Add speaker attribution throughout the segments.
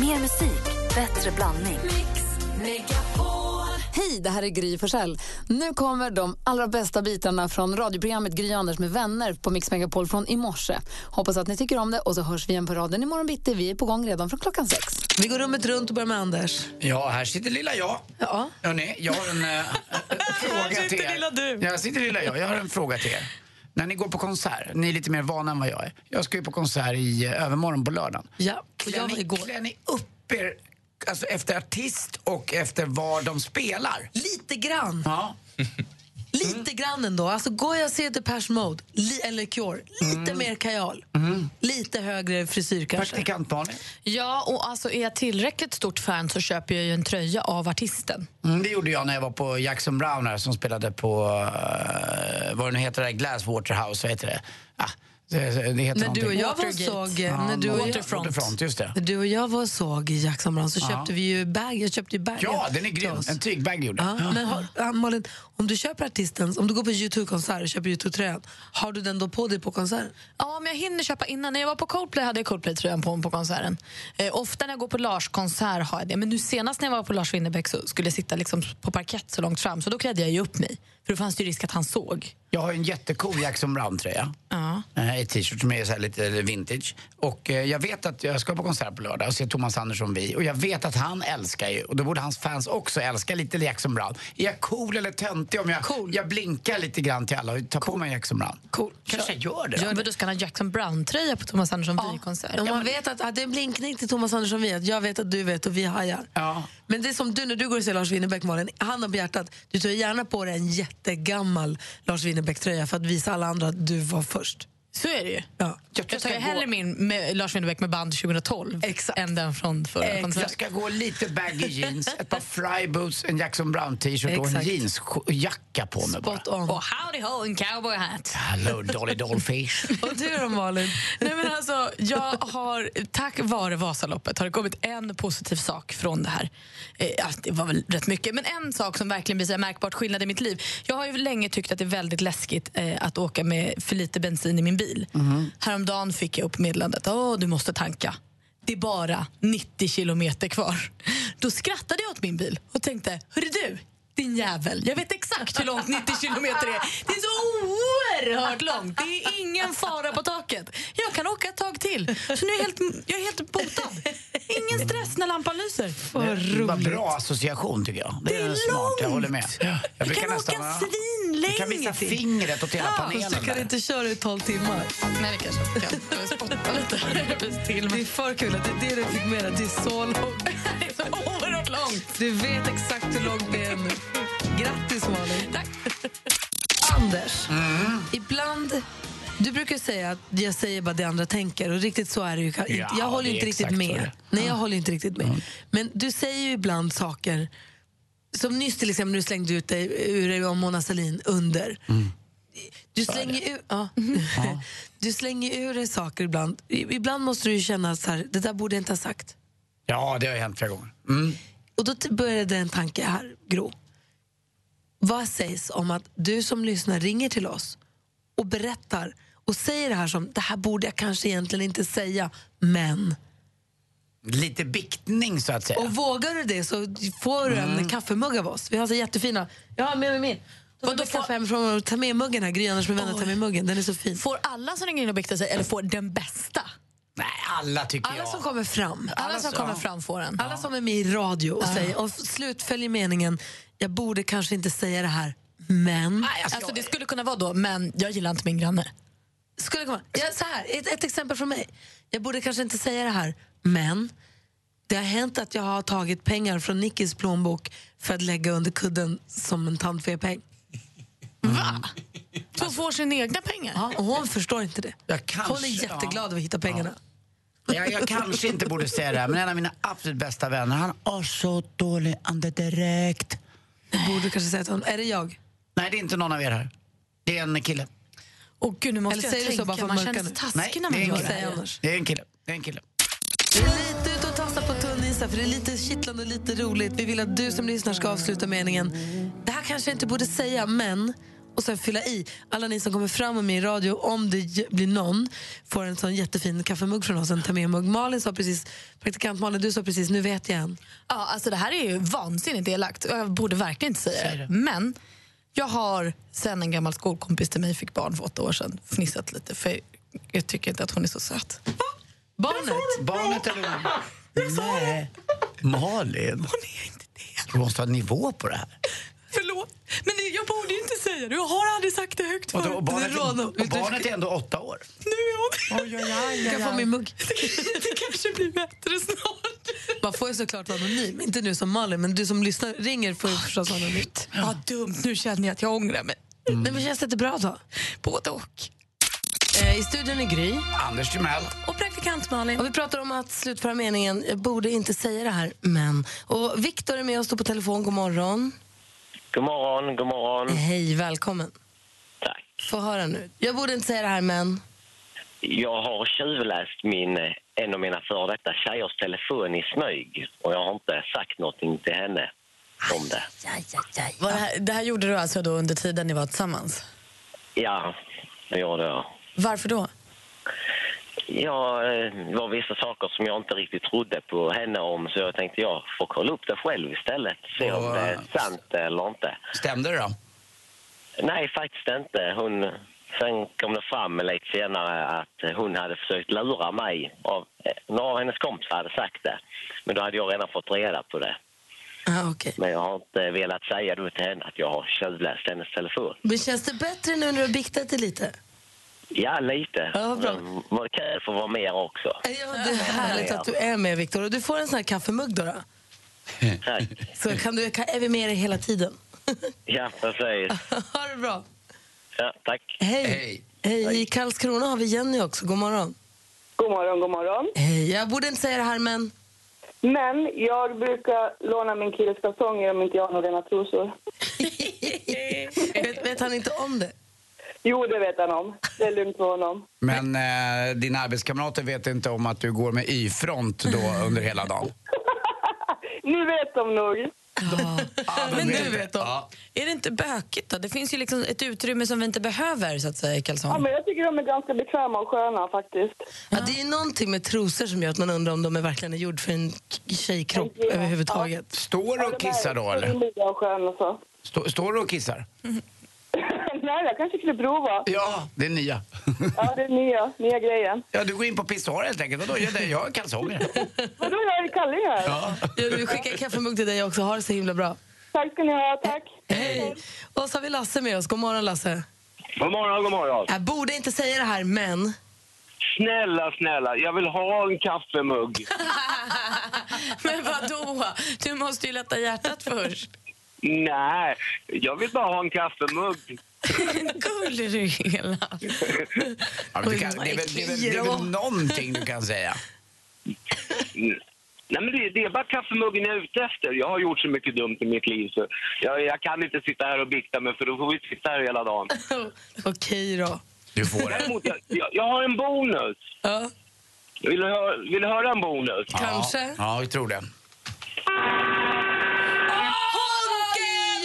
Speaker 1: Mer musik, bättre blandning.
Speaker 2: Hej, det här är Gry Forssell. Nu kommer de allra bästa bitarna från radioprogrammet Gry Anders med vänner på Mix Megapol från i morse. Hoppas att ni tycker om det och så hörs vi igen på raden imorgon bitti. Vi är på gång redan från klockan sex.
Speaker 3: Vi går rummet runt och börjar med Anders.
Speaker 4: Ja, här sitter lilla jag.
Speaker 3: Ja.
Speaker 4: Hörrni, jag har en eh, fråga till er.
Speaker 3: lilla du.
Speaker 4: Jag sitter lilla jag. Jag har en fråga till er. När ni går på konsert, ni är lite mer vana än vad jag är. Jag ska ju på konsert i eh, övermorgon på lördagen.
Speaker 3: Ja, och jag
Speaker 4: Klär
Speaker 3: var
Speaker 4: ni,
Speaker 3: igår.
Speaker 4: klär ni upp er alltså, efter artist och efter var de spelar?
Speaker 3: Lite grann.
Speaker 4: Ja.
Speaker 3: Lite grann ändå. Alltså går jag och ser Depeche Mode li- eller Cure, lite mer kajal. Lite högre frisyr kanske.
Speaker 4: Mm. Praktikant Malin.
Speaker 5: Ja, och alltså är jag tillräckligt stort fan så köper jag ju en tröja av artisten.
Speaker 4: Mm, det gjorde jag när jag var på Jackson Brown här, som spelade på, eh, vad det nu heter, det där, Glasswaterhouse, vad heter det? Ah, det, det heter
Speaker 3: När du och jag var och
Speaker 5: Watergate.
Speaker 3: såg...
Speaker 4: Ja,
Speaker 3: när du och jag,
Speaker 4: Waterfront. Waterfront, just det.
Speaker 3: när du och jag var och såg i Jackson Brown så köpte vi ju bag. Jag köpte ju bag.
Speaker 4: Ja, den är
Speaker 3: till
Speaker 4: grym.
Speaker 3: oss.
Speaker 4: En tygbag gjorde
Speaker 3: Ja, men har, ja, Malin, om du köper artisten, om du går på YouTube-konsert och köper YouTube-tröjan, har du den då på dig på konserten?
Speaker 5: Ja, om jag hinner köpa innan. När jag var på Coldplay hade jag Coldplay-tröjan på mig på konserten. Eh, ofta när jag går på Lars-konsert har jag det. Men nu senast när jag var på Lars Winnerbäck så skulle jag sitta liksom på parkett så långt fram så då klädde jag ju upp mig. För då fanns det ju risk att han såg.
Speaker 4: Jag har en jättecool Jackson Brown-tröja.
Speaker 5: Ja.
Speaker 4: Eh, I t-shirt som är så här lite vintage. Och eh, jag vet att jag ska på konsert på lördag och se Thomas Andersson Vi. Och jag vet att han älskar ju, och då borde hans fans också älska lite Jackson Brown. Är jag cool eller töntig om jag,
Speaker 3: Cool.
Speaker 4: jag blinkar lite grann till alla och tar på mig Jackson Brown?
Speaker 3: Cool.
Speaker 4: Kanske jag gör det.
Speaker 5: Ja, men då ska han ha Jackson Brown-tröja på Thomas Andersson ja. konsert
Speaker 3: Om man vet att, att det är en blinkning till Thomas Andersson vi att jag vet att du vet och vi hajar.
Speaker 4: Ja.
Speaker 3: Men det är som du när du går och ser Lars Winnerbäck, Malin, handen på hjärtat, du tar gärna på dig en jättegammal Lars Winnerbäck-tröja för att visa alla andra att du var först.
Speaker 5: Så är det ju.
Speaker 3: Ja.
Speaker 4: Jag tror
Speaker 5: Jag tar ju
Speaker 4: jag ska
Speaker 5: hellre
Speaker 4: gå-
Speaker 5: min med Lars Winnerbäck med band 2012
Speaker 3: Exakt.
Speaker 5: än den från förra
Speaker 3: Exakt.
Speaker 4: Eh, Jag
Speaker 5: konserten.
Speaker 4: ska gå lite baggy jeans, ett par fry boots, en Jackson Brown-t-shirt och en
Speaker 3: Exakt.
Speaker 4: jeansjacka på mig bara.
Speaker 3: Spot on.
Speaker 5: Och howdy ho, en cowboy hat.
Speaker 4: Hello Dolly Dollfish.
Speaker 3: Och du då Malin?
Speaker 5: Nej, men alltså, jag har, tack vare Vasaloppet har det kommit en positiv sak från det här. Eh, ja, det var väl rätt mycket, men en sak som verkligen blir så här märkbart skillnad i mitt liv. Jag har ju länge tyckt att det är väldigt läskigt eh, att åka med för lite bensin i min bil.
Speaker 6: Mm-hmm.
Speaker 5: Häromdagen fick jag upp meddelandet att du måste tanka. Det är bara 90 kilometer kvar. Då skrattade jag åt min bil och tänkte, hörru du, din jävel. Jag vet exakt hur långt 90 kilometer är. Det är så oerhört långt. Det är ingen fara på taket. Jag kan åka ett tag till. Så nu är jag helt, jag är helt botad. Ingen stress när lampan lyser.
Speaker 4: Det var bra association tycker jag. Det,
Speaker 5: Det är
Speaker 4: en smart, jag
Speaker 5: långt.
Speaker 4: håller med. Jag
Speaker 5: Du
Speaker 4: brukar
Speaker 5: kan
Speaker 4: nästan-
Speaker 5: åka
Speaker 4: Du kan
Speaker 5: svinlänge
Speaker 4: visa
Speaker 5: till.
Speaker 4: fingret åt hela
Speaker 3: Fast du
Speaker 4: panelen.
Speaker 3: kan
Speaker 4: där.
Speaker 3: inte köra i 12 timmar.
Speaker 5: Nej, det kanske jag kan. Jag spottar lite. Till
Speaker 3: Det är
Speaker 5: mig.
Speaker 3: för kul att det är det du fick med dig, att det är så långt.
Speaker 5: Det är så oerhört långt.
Speaker 3: Du vet exakt hur långt det är nu. Grattis Malin.
Speaker 5: Tack.
Speaker 3: Anders, Mm. ibland... Du brukar säga att jag säger bara det andra tänker och riktigt så är det ju ka- inte.
Speaker 4: Ja,
Speaker 3: Jag håller
Speaker 4: det är
Speaker 3: inte riktigt
Speaker 4: exakt så det
Speaker 3: med.
Speaker 4: är.
Speaker 3: Nej, jag håller inte riktigt med. Men du säger ju ibland saker som nyss till exempel när du slängde ut dig ur dig om Mona Sahlin under. Du slänger, ur, ja. du slänger ur dig saker ibland. I- Ibland måste du ju känna så här, det där borde jag inte ha sagt.
Speaker 4: Ja, det har ju hänt flera gånger. Mm.
Speaker 3: Och då t- började en tanke här gro. Vad sägs om att du som lyssnar ringer till oss och berättar och säger det här som det här borde jag kanske egentligen inte säga, men.
Speaker 4: Lite biktning så att säga.
Speaker 3: Och vågar du det så får du
Speaker 5: Mm.
Speaker 3: en kaffemugg av oss. Vi har så jättefina. Jag har med mig min. Då får
Speaker 5: Vadå
Speaker 3: du kaffe
Speaker 5: får-
Speaker 3: hemifrån och ta med muggen här. Gry Anders med vänner, ta med muggen. Den är så fin.
Speaker 5: Får alla som ringer in och biktar sig eller får den bästa?
Speaker 4: Nej, alla tycker
Speaker 3: Alla
Speaker 4: jag.
Speaker 3: som kommer fram,
Speaker 5: Alla,
Speaker 4: Alla
Speaker 5: som
Speaker 4: så-
Speaker 5: kommer
Speaker 4: ja.
Speaker 5: fram får den.
Speaker 3: alla som är med i radio och säger och slutföljer meningen, jag borde kanske inte säga det här, men.
Speaker 5: Nej, Alltså, det skulle kunna vara då, men jag gillar inte min granne.
Speaker 3: skulle komma. Ja, så här, ett, ett exempel från mig. Jag borde kanske inte säga det här, men det har hänt att jag har tagit pengar från Nickis plånbok för att lägga under kudden som en tandfepeng.
Speaker 5: Va? Som får sina egna pengar?
Speaker 3: Ja, och hon förstår inte det.
Speaker 4: Jag kanske,
Speaker 3: hon är jätteglad
Speaker 4: ja.
Speaker 3: över att hitta pengarna.
Speaker 4: Jag, jag kanske inte borde säga det här, men en av mina absolut bästa vänner, han har så dålig andedräkt.
Speaker 3: Du borde kanske säga till honom, är det jag?
Speaker 4: Nej, det är inte någon av er här. Det är en kille.
Speaker 5: Åh gud, nu måste
Speaker 3: Eller
Speaker 5: jag
Speaker 3: säger du så
Speaker 5: tänka.
Speaker 3: bara för att
Speaker 5: man
Speaker 3: mörka
Speaker 5: känner sig
Speaker 3: nu?
Speaker 4: Nej,
Speaker 5: taskig
Speaker 4: det
Speaker 5: när man
Speaker 4: är en
Speaker 5: gör det.
Speaker 3: Säg
Speaker 5: här.
Speaker 3: annars.
Speaker 4: Det är en kille. Det är en kille.
Speaker 3: Vi är lite ute och tassar på tunn is här, för det är lite kittlande och lite roligt. Vi vill att du som lyssnar ska avsluta meningen. Det här kanske jag inte borde säga, men... och sen fylla i. Alla ni som kommer fram med mig i radio, om det j- blir någon, får en sån jättefin kaffemugg från oss. En Tamé-mugg. Malin sa precis, praktikant Malin, du sa precis, nu vet jag en.
Speaker 5: Ja, alltså det här är ju vansinnigt elakt. och Jag borde verkligen inte säga det. Men jag har sen en gammal skolkompis till mig fick barn för åtta år sedan fnissat lite för jag tycker inte att hon är så söt.
Speaker 3: Barnet!
Speaker 4: Barnet eller hon? Nej. Malin.
Speaker 5: Hon är inte det.
Speaker 4: Du måste ha nivå på det här.
Speaker 5: Förlåt. Men det- jag borde ju inte säga det. Jag har aldrig sagt det högt
Speaker 4: Och, då,
Speaker 5: förut.
Speaker 4: och, barnet,
Speaker 5: Det rånar-
Speaker 4: och barnet är ändå åtta år.
Speaker 5: Nu är hon...
Speaker 3: Du kan få min mugg.
Speaker 5: det kanske blir bättre snart.
Speaker 3: Man får ju såklart vara anonym. Inte nu som Malin, men du som lyssnar ringer får ju
Speaker 5: Ah,
Speaker 3: förstås vara anonym. Mm.
Speaker 5: Vad dumt. Nu känner jag att jag ångrar mig.
Speaker 3: Nej, men känns det inte bra då?
Speaker 5: Både och.
Speaker 3: Eh, I studion är Gry.
Speaker 4: Anders Timell.
Speaker 5: Och praktikant Malin.
Speaker 3: Och vi pratar om att slutföra meningen, jag borde inte säga det här, men. Och Viktor är med oss då på telefon, god morgon.
Speaker 7: God morgon, god morgon.
Speaker 3: Hej, välkommen.
Speaker 7: Tack.
Speaker 3: Få höra nu. Jag borde inte säga det här, men.
Speaker 7: Jag har tjuvläst min, eh, en av mina före detta tjejers telefon i smyg och jag har inte sagt någonting till henne om det.
Speaker 5: Var det, här, det här gjorde du alltså då under tiden ni var tillsammans?
Speaker 7: Ja, det gjorde jag.
Speaker 5: Varför då?
Speaker 7: Ja, eh, det var vissa saker som jag inte riktigt trodde på henne om så jag tänkte jag får kolla upp det själv istället. Se om det är sant eller inte.
Speaker 4: eh, Stämde det då?
Speaker 7: Nej, faktiskt inte. Hon, sen kom det fram lite senare att hon hade försökt lura mig. Av, eh, några av hennes kompisar hade sagt det, men då hade jag redan fått reda på det.
Speaker 3: Ah, okay.
Speaker 7: Men jag har inte velat säga då till henne att jag har tjuvläst hennes telefon.
Speaker 3: Men känns det bättre nu när du har biktat dig lite?
Speaker 7: Ja, lite.
Speaker 3: Ja, vad bra.
Speaker 7: Men Vad kul för att vara med också.
Speaker 3: Ja, det är härligt att du är med, Viktor. Och du får en sån här kaffemugg då. då. Eh.
Speaker 7: Tack.
Speaker 3: Så kan du, kan, är vi med dig hela tiden.
Speaker 7: Ja, precis.
Speaker 3: ha det bra.
Speaker 7: Ja, tack.
Speaker 3: Hej.
Speaker 4: Hej.
Speaker 3: Hej. I Karlskrona har vi Jenny också, god morgon.
Speaker 8: God morgon, god morgon.
Speaker 3: Hej, jag borde inte säga det här, men.
Speaker 8: Men jag brukar låna min killes kalsonger om inte jag har några rena trosor.
Speaker 3: vet, vet han inte om det?
Speaker 8: Jo, det vet han om. Det är lugnt för honom.
Speaker 4: Men eh, dina arbetskamrater vet inte om att du går med Y-front då under hela dagen?
Speaker 8: Nu vet de nog.
Speaker 4: Ja, de
Speaker 5: Men nu vet de.
Speaker 4: Ja.
Speaker 5: Är det inte bökigt då? Det finns ju liksom ett utrymme som vi inte behöver så att säga i
Speaker 8: Ja,
Speaker 5: kalsongen.
Speaker 8: men jag tycker de är ganska bekväma och sköna faktiskt.
Speaker 3: Ja, det är någonting med trosor som gör att man undrar om de är verkligen är gjord för en k- tjejkropp
Speaker 8: Ja.
Speaker 3: överhuvudtaget.
Speaker 4: Står du och kissar då eller?
Speaker 8: Rymliga och sköna och så.
Speaker 4: Stå, står du och kissar?
Speaker 8: Nej, jag kanske skulle prova.
Speaker 4: Ja, det är nya.
Speaker 8: Ja, det är nya, nya grejen.
Speaker 4: Ja, du går in på pissoar helt enkelt. Vadå, jag, jag har kalsonger.
Speaker 8: Vadå, jag är i kallingar?
Speaker 4: Ja.
Speaker 3: Jag vill skicka en kaffemugg till dig också. Ha det så himla bra.
Speaker 8: Tack ska ni ha, tack.
Speaker 3: Hej! Och så har vi Lasse med oss. God morgon, Lasse.
Speaker 9: God morgon, god morgon.
Speaker 3: Jag borde inte säga det här, men...
Speaker 9: Snälla, snälla, jag vill ha en kaffemugg.
Speaker 5: Men vadå? Du måste ju lätta hjärtat först.
Speaker 9: Nej, jag vill bara ha en kaffemugg.
Speaker 5: Gullig du hela.
Speaker 4: Ja, men du kan, det, är väl, det, är väl, det är väl någonting du kan säga.
Speaker 9: Mm. Nej, men det, det är bara kaffemuggen jag är ute efter. Jag har gjort så mycket dumt i mitt liv så jag, jag kan inte sitta här och bikta mig för då får vi sitta här hela dagen.
Speaker 3: Okej då.
Speaker 4: Du får det.
Speaker 9: Däremot, jag, jag- jag har en bonus.
Speaker 3: Ja,
Speaker 9: Vill du höra, vill du höra en bonus?
Speaker 3: kanske.
Speaker 4: Ja, ja jag tror det.
Speaker 3: Honken!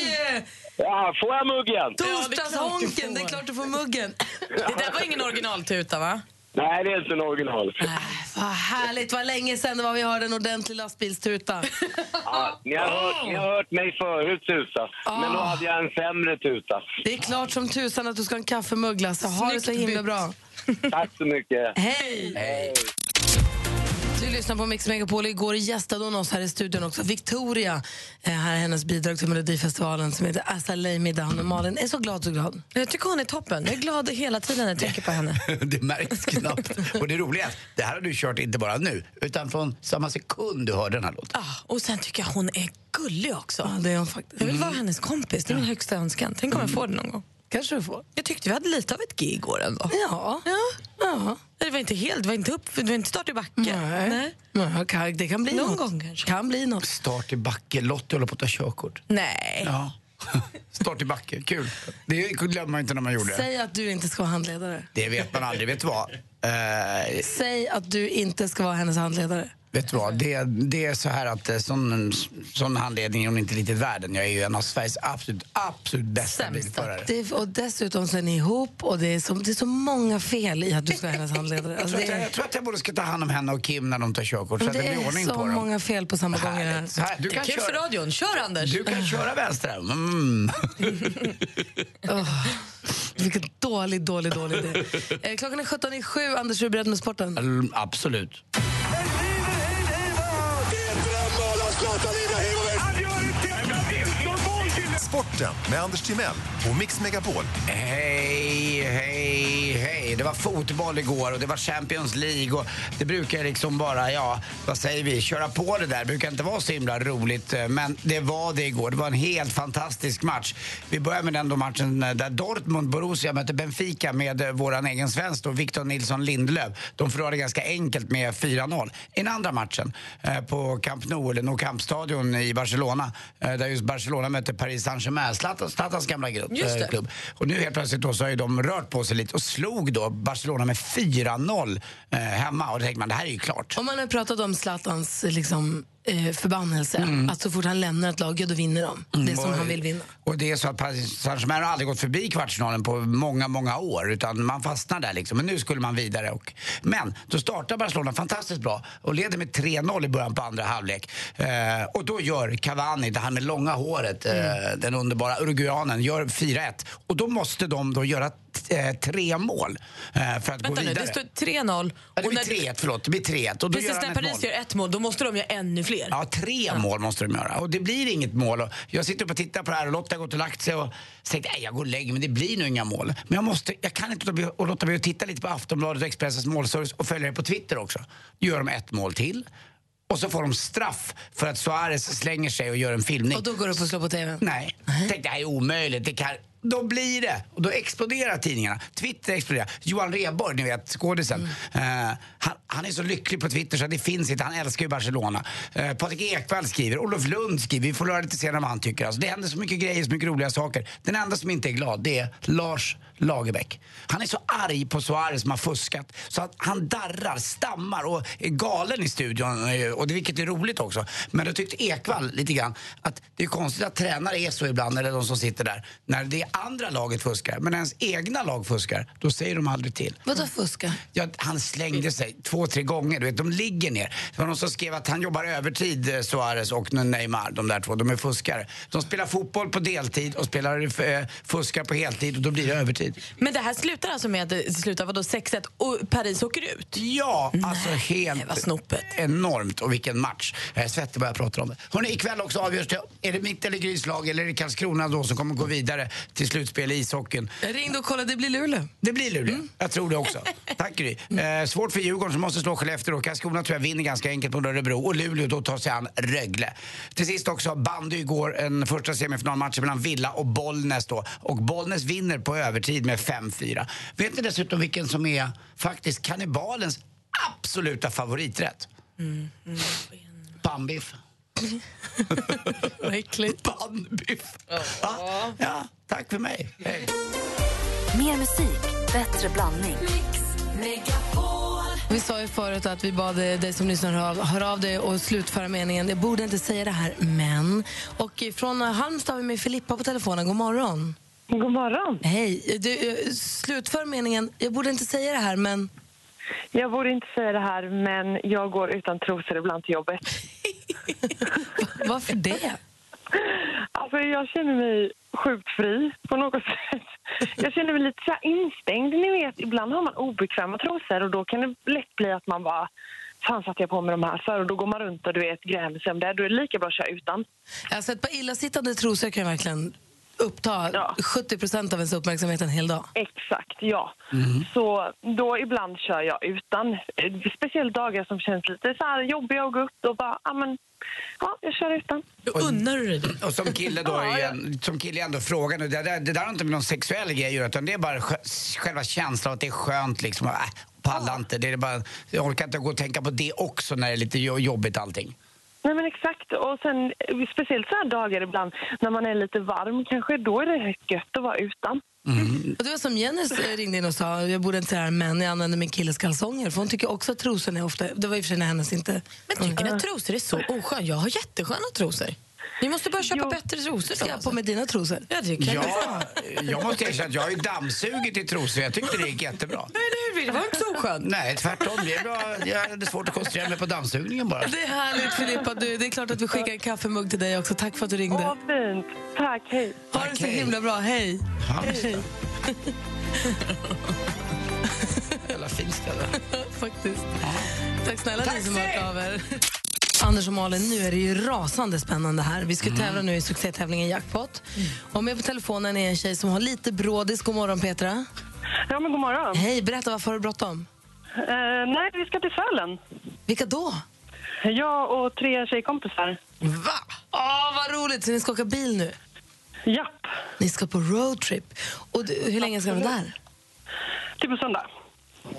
Speaker 9: Ja, får jag muggen?
Speaker 3: Torsdagshonken! Det är klart du får muggen.
Speaker 5: Det där var ingen originaltuta va?
Speaker 9: Nej, det är inte en original.
Speaker 3: Äh, vad härligt. Vad länge sedan det var vi hörde en ordentlig lastbilstuta.
Speaker 9: Ja, ni, har hört, ni har hört mig förut tuta, men då hade jag en sämre tuta.
Speaker 3: Det är klart som tusan att du ska ha en kaffemugg, Lasse. Ha det så himla bra.
Speaker 9: Tack så mycket.
Speaker 3: Hej!
Speaker 4: Hej.
Speaker 3: Du lyssnar på Mix Megapol. Igår gästade hon oss här i studion också. Victoria, eh, här är hennes bidrag till Melodifestivalen som heter Assa Leimidan. Och Malin är så glad, så glad.
Speaker 5: Jag tycker hon är toppen. Jag är glad hela tiden när jag tänker på henne.
Speaker 4: Det märks knappt. Och det roliga är att det här har du kört inte bara nu, utan från samma sekund du hörde den här låten.
Speaker 5: Ah, och sen tycker jag hon är gullig också.
Speaker 3: Ja, det är hon faktiskt. Mm.
Speaker 5: Jag vill vara hennes kompis. Det är min högsta önskan. Tänk om jag får det någon gång.
Speaker 3: kanske du får.
Speaker 5: Jag tyckte vi hade lite av ett gig igår ändå.
Speaker 3: Ja. ja. ja.
Speaker 5: Det var inte helt, det var inte upp, det var inte start i backen.
Speaker 3: Nej.
Speaker 5: Nej.
Speaker 3: Ja, kan- Det kan bli
Speaker 5: Någon
Speaker 3: något.
Speaker 5: gång kanske.
Speaker 3: Kan bli något.
Speaker 4: Start i backe. Lottie håller på att ta körkort.
Speaker 5: Nej.
Speaker 4: Ja. Start i backe. Kul. Det glömmer man inte när man gjorde det.
Speaker 3: Säg att du inte ska vara handledare.
Speaker 4: Det vet man aldrig. Vet du vad? Eh,
Speaker 3: Säg att du inte ska vara hennes handledare.
Speaker 4: Vet du vad, det, det är så här att eh, sån, sån handledning är hon inte riktigt värden. Jag är ju en av Sveriges absolut, absolut bästa bilförare.
Speaker 3: Det, och dessutom så är ni ihop och det är, så, det är så många fel i att du ska vara hennes handledare.
Speaker 4: Jag
Speaker 3: Alltså,
Speaker 4: tror,
Speaker 3: det
Speaker 4: att jag,
Speaker 3: är,
Speaker 4: jag tror att jag borde ska ta hand om henne och Kim när de tar körkort så att det
Speaker 3: det
Speaker 4: blir
Speaker 3: är
Speaker 4: ordning på
Speaker 3: så
Speaker 4: dem.
Speaker 3: många fel på samma gång. i det här.
Speaker 4: Härligt. Så här, du,
Speaker 5: Det är
Speaker 4: kan
Speaker 5: kul för
Speaker 4: köra,
Speaker 5: radion. Kör, Anders!
Speaker 4: du kan köra vänster. Mm.
Speaker 3: Vilken dålig, dålig, dålig idé. Eh, Klockan är 17 i sju. Anders, är du beredd med sporten?
Speaker 4: Mm, Absolut.
Speaker 10: Sporten med Anders Timell och Mix Megapol.
Speaker 4: Hej, hej, hej. Det var fotboll igår och det var Champions League och det brukar liksom bara, ja, vad säger vi, köra på det där. Det brukar inte vara så himla roligt, eh, men det var det igår. Det var en helt fantastisk match. Vi börjar med den då matchen eh, där Dortmund, Borussia mötte Benfica med eh, våran egen svensk då, Victor Nilsson Lindelöf. De förlorade ganska enkelt med 4-0. I den andra matchen eh, på Camp Nou, eller Nou Camp-stadion i Barcelona, eh, där just Barcelona mötte Paris Saint-Germain, Zlatan- Zlatans gamla grupp
Speaker 5: Just det.
Speaker 4: eh, klubb. Och nu helt plötsligt då så har ju de rört på sig lite och slog då Barcelona med 4-0 eh, hemma. Och då tänkte man, det här är ju klart.
Speaker 3: Om man har pratat om Zlatans eh, liksom, eh, förbannelse, att så fort han lämnar ett lag, ja, då vinner de. Det som
Speaker 4: Och-
Speaker 3: han vill vinna.
Speaker 4: Och det är så att Paris Saint-Germain har aldrig gått förbi kvartsfinalen på många, många år. Utan man fastnar där liksom. Men nu skulle man vidare. Och... Men då startar Barcelona fantastiskt bra och leder med 3-0 i början på andra halvlek. Eh, och då gör Cavani, det här med långa håret,
Speaker 5: Mm.
Speaker 4: eh, den underbara uruguayanen, gör 4-1. Och då måste de då göra t- eh, tre mål eh, för att gå
Speaker 5: Vänta nu,
Speaker 4: vidare.
Speaker 5: det står 3-0.
Speaker 4: Ja, det
Speaker 5: och
Speaker 4: blir
Speaker 5: när-
Speaker 4: 3-1, förlåt. Det blir 3-1. Och då
Speaker 5: Precis
Speaker 4: gör han
Speaker 5: när
Speaker 4: ett
Speaker 5: Paris
Speaker 4: mål.
Speaker 5: gör ett mål, då måste de göra ännu fler.
Speaker 4: Ja, tre mål måste de göra. Och det blir inget mål. Och jag sitter upp och tittar på det här och Lotta har gått och lagt sig och sagt nej jag går och lägger mig, det blir nog inga mål. Men jag, måste, jag kan inte låta bli- och låta bli att titta lite på Aftonbladet och Expressens målservice och följa det på Twitter också. Då gör de ett mål till. Och så får de straff för att Suarez slänger sig och gör en filmning.
Speaker 3: Och då går du upp och slår på tvn.
Speaker 4: Nej. Tänkte det här är omöjligt. Det kan... Då blir det. Och då exploderar tidningarna. Twitter exploderar. Johan Rheborg, ni vet skådisen. eh, han, han är så lycklig på Twitter så att det finns inte. Han älskar ju Barcelona. Eh, Patrik Ekwall skriver. Olof Lund skriver. Vi får höra lite senare vad han tycker. Alltså, det händer så mycket grejer, så mycket roliga saker. Den enda som inte är glad, det är Lars Lagerbäck. Han är så arg på Suarez som har fuskat så att han darrar, stammar och är galen i studion. eh, Och det, vilket är roligt också. Men då tyckte Ekvall lite grann att det är konstigt att tränare är så ibland, eller de som sitter där. När det andra laget fuskar, men när ens egna lag fuskar, då säger de aldrig till.
Speaker 3: Vadå fuska?
Speaker 4: Ja, han slängde sig två, tre gånger. Du vet, de ligger ner. Det var någon som skrev att han jobbar övertid, eh, Suarez och Neymar, de där två. De är fuskare. De spelar fotboll på deltid och spelar eh, fuskar på heltid och då blir det övertid.
Speaker 5: Men det här slutar alltså med att det slutar vadå, 6-1 och Paris åker ut?
Speaker 4: Ja, alltså helt
Speaker 5: vad snopet.
Speaker 4: enormt. Och vilken match. Eh, Jag är svettig bara jag pratar om det. Hörrni, ikväll också avgörs det. Är det mitt eller Grys lag eller är det Karlskrona då som kommer gå vidare till slutspel i ishockeyn?
Speaker 3: Jag ringde och kollade, det blir Luleå.
Speaker 4: Det blir Luleå. Jag tror det också. Tack Gry. Eh, svårt för Djurgården som måste slå Skellefteå. Karlskrona tror jag vinner ganska enkelt mot Örebro. Och Luleå då tar sig an Rögle. Till sist också bandy igår. En första semifinalmatch mellan Villa och Bollnäs då. Och Bollnäs vinner på övertid med 5-4. Vet ni dessutom vilken som är faktiskt kannibalens absoluta favoriträtt?
Speaker 11: Mm,
Speaker 4: Pannbiff.
Speaker 5: Vad äckligt.
Speaker 4: Pannbiff. Ja. ja, tack för mig. Hej.
Speaker 1: Mer musik, bättre blandning.
Speaker 3: Vi sa ju förut att vi bad eh, dig som lyssnar höra av, höra av dig och slutföra meningen. Jag borde inte säga det här, men... Och från eh, Halmstad har vi med Filippa på telefonen. God morgon.
Speaker 12: God morgon.
Speaker 3: Hej. Du, eh, slutför meningen. Jag borde inte säga det här, men...
Speaker 12: Jag borde inte säga det här, men jag går utan trosor ibland till jobbet.
Speaker 3: Varför det?
Speaker 12: Alltså, jag känner mig sjukt fri på något sätt. Jag känner mig lite så här instängd. Ni vet, ibland har man obekväma trosor och då kan det lätt bli att man bara Fan satte jag på mig de här för? Och då går man runt och du vet grämer sig om det. Då är det lika bra att köra utan.
Speaker 3: Alltså ett par illasittande trosor kan verkligen uppta
Speaker 12: Ja.
Speaker 3: 70 av ens uppmärksamhet en hel dag.
Speaker 12: Exakt, ja. Så då ibland kör jag utan. Eh, Speciellt dagar som känns lite så här jobbiga att gå upp. Då bara, ja men, ja jag kör utan.
Speaker 5: Då unnar du dig det.
Speaker 4: Och som kille då, är ju en, som kille är ändå frågan, det där, det där har inte med någon sexuell grej att göra, utan det är bara skö- själva känslan av att det är skönt liksom. Äh, pallar inte. Det är bara, jag orkar inte gå och tänka på det också när det är lite jo- jobbigt allting.
Speaker 12: Nej men exakt. Och sen eh, speciellt så här dagar ibland när man är lite varm kanske, då är det gött att vara utan.
Speaker 3: Och det var som Jenny ringde in och sa, jag borde inte säga det här, men jag använder min killes kalsonger. För hon tycker också att trosorna är ofta, det var i och för sig när hennes inte...
Speaker 5: Men tycker ni att trosor är så osköna? Jag har jättesköna trosor. Ni måste börja köpa
Speaker 3: Jo.
Speaker 5: bättre trosor.
Speaker 3: Ska jag på med dina trosor?
Speaker 5: Ja, det kan jag.
Speaker 4: Ja, jag måste erkänna att jag har ju dammsugit i trosor. Jag tyckte det gick jättebra.
Speaker 5: Det var inte så skönt.
Speaker 4: Nej, tvärtom. Det är bra. Jag hade svårt att koncentrera mig på dammsugningen bara.
Speaker 3: Det är härligt Filippa, du, det är klart att vi skickar en kaffemugg till dig också. Tack för att du ringde. Åh,
Speaker 12: fint. Tack, hej.
Speaker 3: Ha det så himla bra, hej.
Speaker 4: Hej. Jävla fint ställe.
Speaker 3: Faktiskt. Tack snälla ni som har hört av er. Anders och Malin, nu är det ju rasande spännande här. Vi ska
Speaker 4: Mm.
Speaker 3: tävla nu i succétävlingen Jackpot. Och med på telefonen är en tjej som har lite brådis. God morgon Petra.
Speaker 12: Ja, men god morgon.
Speaker 3: Hej, berätta varför har du bråttom?
Speaker 12: Eh, nej, vi ska till Sälen.
Speaker 3: Vilka då?
Speaker 12: Jag och tre tjejkompisar.
Speaker 3: Va? Åh, vad roligt! Så ni ska åka bil nu?
Speaker 12: Japp.
Speaker 3: Ni ska på roadtrip. Och du, hur länge ska ni vara där?
Speaker 12: Till på söndag.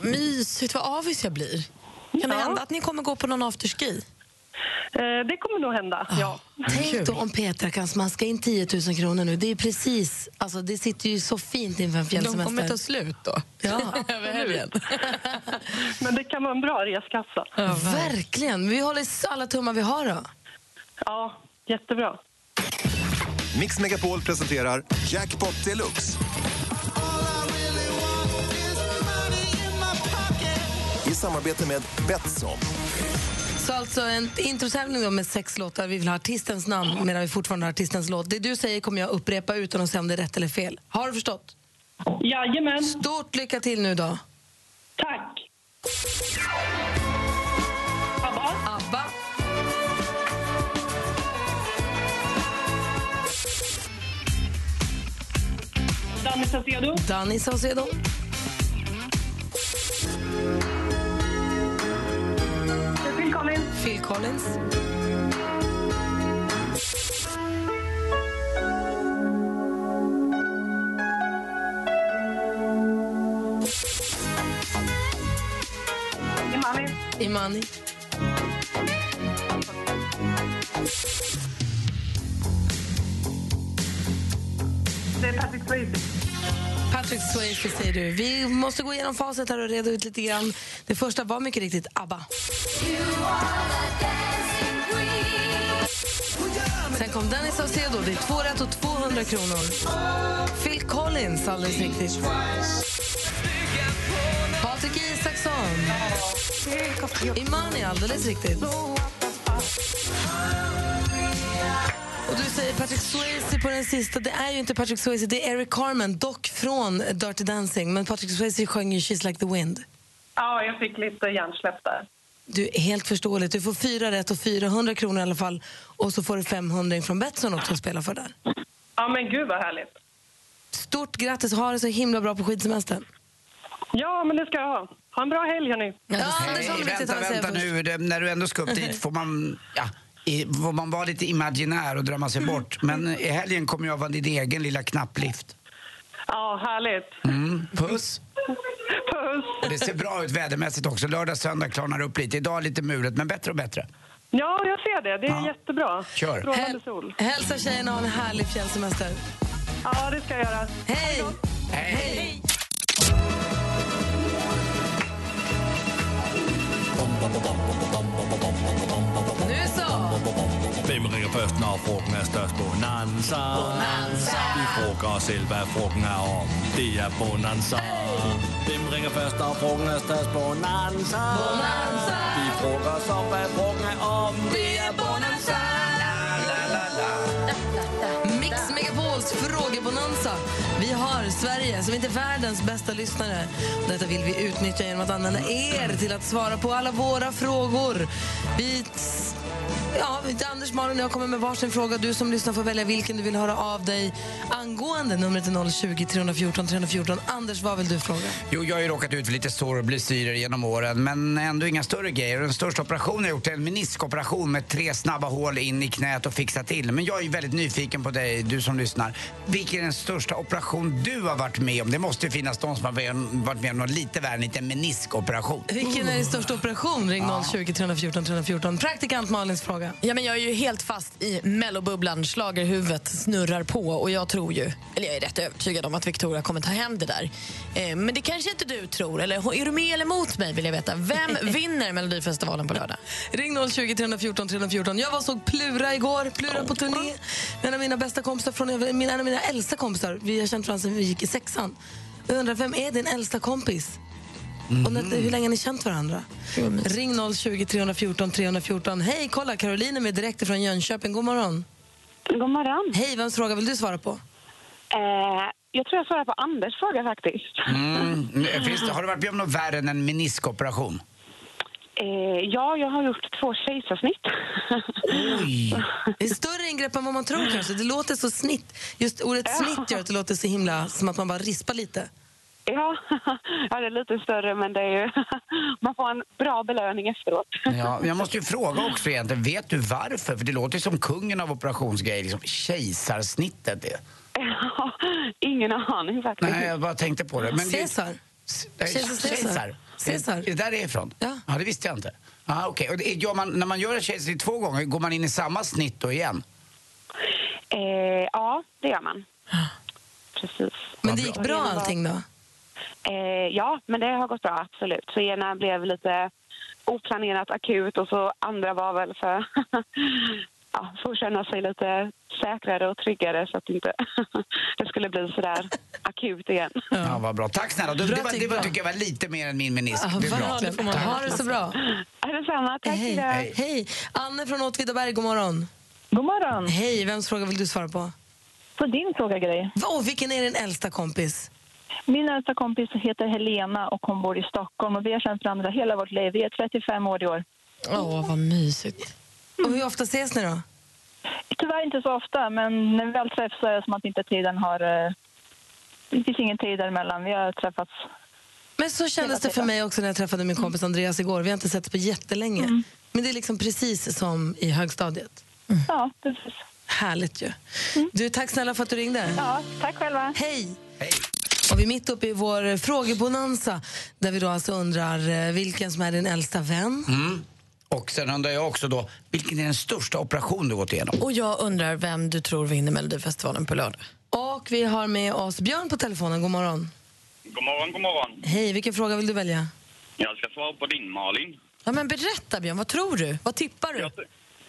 Speaker 5: Mysigt, vad avis jag blir. Kan det
Speaker 12: Ja.
Speaker 5: hända att ni kommer gå på någon afterski? Ah,
Speaker 12: Eh, det kommer nog hända, ja.
Speaker 3: Tänk då om Petra kan smaska in 10 000 kronor nu. Det är precis, alltså det sitter ju så fint inför en
Speaker 5: De kommer ta
Speaker 3: fjällsemester.
Speaker 5: slut då.
Speaker 3: Ja.
Speaker 5: Över helgen.
Speaker 12: Men det kan vara en bra reskassa.
Speaker 5: Ja, verkligen.
Speaker 3: Verkligen. Vi håller alla tummar vi har då.
Speaker 12: Ja, jättebra.
Speaker 10: Mix Megapol presenterar Jackpot Deluxe. I samarbete med Betsson.
Speaker 3: Så alltså en introtävling då med sex låtar. Vi vill ha artistens namn medan vi fortfarande har artistens låt. Det du säger kommer jag upprepa utan att säga om det är rätt eller fel. Har du förstått?
Speaker 12: Jajamän,
Speaker 3: Stort lycka till nu då.
Speaker 12: tack. Abba,
Speaker 3: ABBA.
Speaker 12: Danny Saucedo,
Speaker 3: Danny Saucedo.
Speaker 12: Phil Collins,
Speaker 3: Phil Collins.
Speaker 12: Imani,
Speaker 3: Imani.
Speaker 12: det är Patrick Swayze.
Speaker 3: Patrick Swayze säger du. Vi måste gå igenom facit här och reda ut lite grann. Det första var mycket riktigt ABBA. Sen kom Danny Saucedo. Det är två rätt och 200 kronor. Phil Collins, alldeles riktigt. Patrik Isaksson. Imani, alldeles riktigt. Och du säger Patrick Swayze på den sista. Det är ju inte Patrick Swayze, det är Eric Carmen, dock från Dirty Dancing. Men Patrick Swayze sjöng ju She's like the wind.
Speaker 12: Ja, jag fick lite hjärnsläpp där.
Speaker 3: Du, helt förståeligt. Du får fyra rätt och 400 kronor i alla fall. Och så får du 500 från Betsson också att spela för där.
Speaker 12: Ja, men gud vad härligt.
Speaker 3: Stort grattis och ha det så himla bra på skidsemestern.
Speaker 12: Ja, men det ska jag ha. Ha en bra helg, hörni.
Speaker 3: Anders, har
Speaker 4: Nej,
Speaker 3: du riktigt
Speaker 4: vänta,
Speaker 3: vad jag säger
Speaker 4: vänta
Speaker 3: först?
Speaker 4: nu. Det- När du ändå ska upp dit får man, ja, i, får man vara lite imaginär och drömma sig bort. Men i helgen kommer jag vara din egen lilla knapplift.
Speaker 12: Ja, härligt.
Speaker 4: Mm.
Speaker 12: Puss.
Speaker 4: Puss! Och det ser bra ut vädermässigt också. Lördag, söndag klarnar upp lite. Idag lite mulet, men bättre och bättre.
Speaker 12: Ja, jag ser det. Det är jättebra.
Speaker 4: Kör.
Speaker 12: Strålande
Speaker 3: Häl-
Speaker 12: sol.
Speaker 3: Hälsa tjejerna och ha en härlig fjällsemester.
Speaker 12: Ja, det ska jag göra.
Speaker 3: Hej!
Speaker 4: Hej!
Speaker 3: Nu så!
Speaker 11: Hvem ringer først, når frugten er størst? Bonanza. Bonanza. Vi frugger os selv, hvad frugten er om. Det er Bonanza. Hvem ringer først, når frugten er størst? Bonanza. Bonanza. Vi frugger os om, hvad frugten er om. Det er Bonanza.
Speaker 3: Mix Megapols frågebonanza. Vi har Sverige som inte är världens bästa lyssnare. Och Detta vill vi utnyttja genom att använda er till att svara på alla våra frågor. Vi... Ja, Anders, Malin och jag kommer med varsin fråga. Du som lyssnar får välja vilken du vill höra av dig angående. Numret är 020 314 314. Anders, vad vill du fråga?
Speaker 4: Jo, jag har ju råkat ut för lite sår och blessyrer genom åren, men ändå inga större grejer. Den största operationen jag gjort är en meniskoperation med tre snabba hål in i knät och fixa till. Men jag är ju väldigt nyfiken på dig, du som lyssnar. Vilken är den största operation du har varit med om? Det måste ju finnas de som har varit- varit med om något lite värre än en liten meniskoperation.
Speaker 3: Vilken är din största operation? Ring 020 314 314. Praktikant Malins fråga. fråga.
Speaker 5: Ja, men jag är ju helt fast i mellobubblan. Schlagerhuvudet snurrar på och jag tror ju, eller jag är rätt övertygad om att Victoria kommer ta hem det där. Eh, men det kanske inte du tror, eller är du med eller mot mig vill jag veta. Vem vinner Melodifestivalen på lördag?
Speaker 3: Ring 020 314 314. Jag var och såg Plura igår, Plura på turné. En av mina bästa kompisar, från, min- en av mina äldsta kompisar. Vi har känt varandra sedan vi gick i sexan. Jag undrar, vem är din äldsta kompis? Och
Speaker 13: Mm.
Speaker 3: när, hur länge har ni känt varandra? Ring 020 314 314. Hej, kolla, Caroline är med direkt från Jönköping. God morgon.
Speaker 6: God morgon.
Speaker 3: Hej, vems fråga vill du svara på?
Speaker 6: Eh, jag tror jag svarar på Anders fråga faktiskt.
Speaker 4: Mm. Nu, Finns det, har du varit med om något värre än en meniskoperation?
Speaker 6: Eh, ja, jag har gjort två kejsarsnitt.
Speaker 3: Det är större ingrepp än vad man tror kanske. Det låter så snitt. Just ordet snitt gör att det låter så himla som att man bara rispar lite.
Speaker 6: ja. ja, det är lite större men det är ju... man får en bra belöning efteråt.
Speaker 4: Ja, men jag måste ju fråga också egentligen, vet du varför? För det låter ju som kungen av operationsgrejer, liksom kejsarsnittet. Det.
Speaker 6: Ingen aning faktiskt.
Speaker 4: Nej, jag bara tänkte på det.
Speaker 6: Caesar.
Speaker 4: S- nej,
Speaker 6: Kejsar Caesar.
Speaker 4: Caesar.
Speaker 6: Caesar.
Speaker 4: Är det där det är ifrån? Ja. det visste jag inte. Ah, okay. och det, är- gör man, när man gör ett kejsarsnitt två gånger, går man in i samma snitt då igen?
Speaker 6: Eh, ja, det gör man. Precis.
Speaker 3: Men det gick bra
Speaker 6: Och ena var-
Speaker 3: allting då?
Speaker 6: Eh, ja, men det har gått bra, absolut. Så ena blev lite oplanerat akut och så andra var väl för, ja, för att känna sig lite säkrare och tryggare så att inte det skulle bli sådär akut igen.
Speaker 4: Ja, vad bra. Tack snälla. Du,
Speaker 6: Bra
Speaker 4: det var, det
Speaker 6: tycker
Speaker 4: var,
Speaker 6: jag.
Speaker 4: tycker jag var lite mer än min menisk.
Speaker 3: Ja,
Speaker 4: det är bra.
Speaker 3: verkligen. får man
Speaker 4: Tack.
Speaker 3: ha det så bra.
Speaker 6: Detsamma, tack.
Speaker 3: Hej.
Speaker 6: Hej.
Speaker 3: Hej. Hej. Anne från Åtvidaberg, god morgon.
Speaker 14: God morgon.
Speaker 3: Hej, vems fråga vill du svara på?
Speaker 14: På din fråga, Gry.
Speaker 3: Oh, vilken är din äldsta kompis?
Speaker 14: Min äldsta kompis heter Helena och hon bor i Stockholm och vi har känt varandra hela vårt liv. Vi är 35 år i år.
Speaker 5: Åh, vad mysigt.
Speaker 3: Och hur ofta ses ni då?
Speaker 14: Tyvärr inte så ofta, men när vi väl träffas så är det som att inte tiden har... eh, Det finns ingen tid däremellan. Vi har träffats.
Speaker 3: Men så kändes det för mig också när jag träffade min
Speaker 6: Mm.
Speaker 3: kompis Andreas igår. Vi har inte sett på jättelänge. Men det är liksom precis som i högstadiet.
Speaker 14: Ja, precis. Mm.
Speaker 3: Härligt ju. Du, tack snälla för att du ringde.
Speaker 14: Ja, tack själva.
Speaker 3: Hej. Och vi är mitt uppe i vår frågebonanza där vi då alltså undrar eh, vilken som är din äldsta vän.
Speaker 4: Mm. Och sen undrar jag också då, vilken är den största operation du gått igenom?
Speaker 5: Och jag undrar vem du tror vinner Melodifestivalen på lördag?
Speaker 3: Och vi har med oss Björn på telefonen. God morgon.
Speaker 15: God morgon, god morgon.
Speaker 3: Hej, vilken fråga vill du välja?
Speaker 15: Jag ska svara på din, Malin.
Speaker 5: Ja, men berätta Björn, vad tror du? Vad tippar du?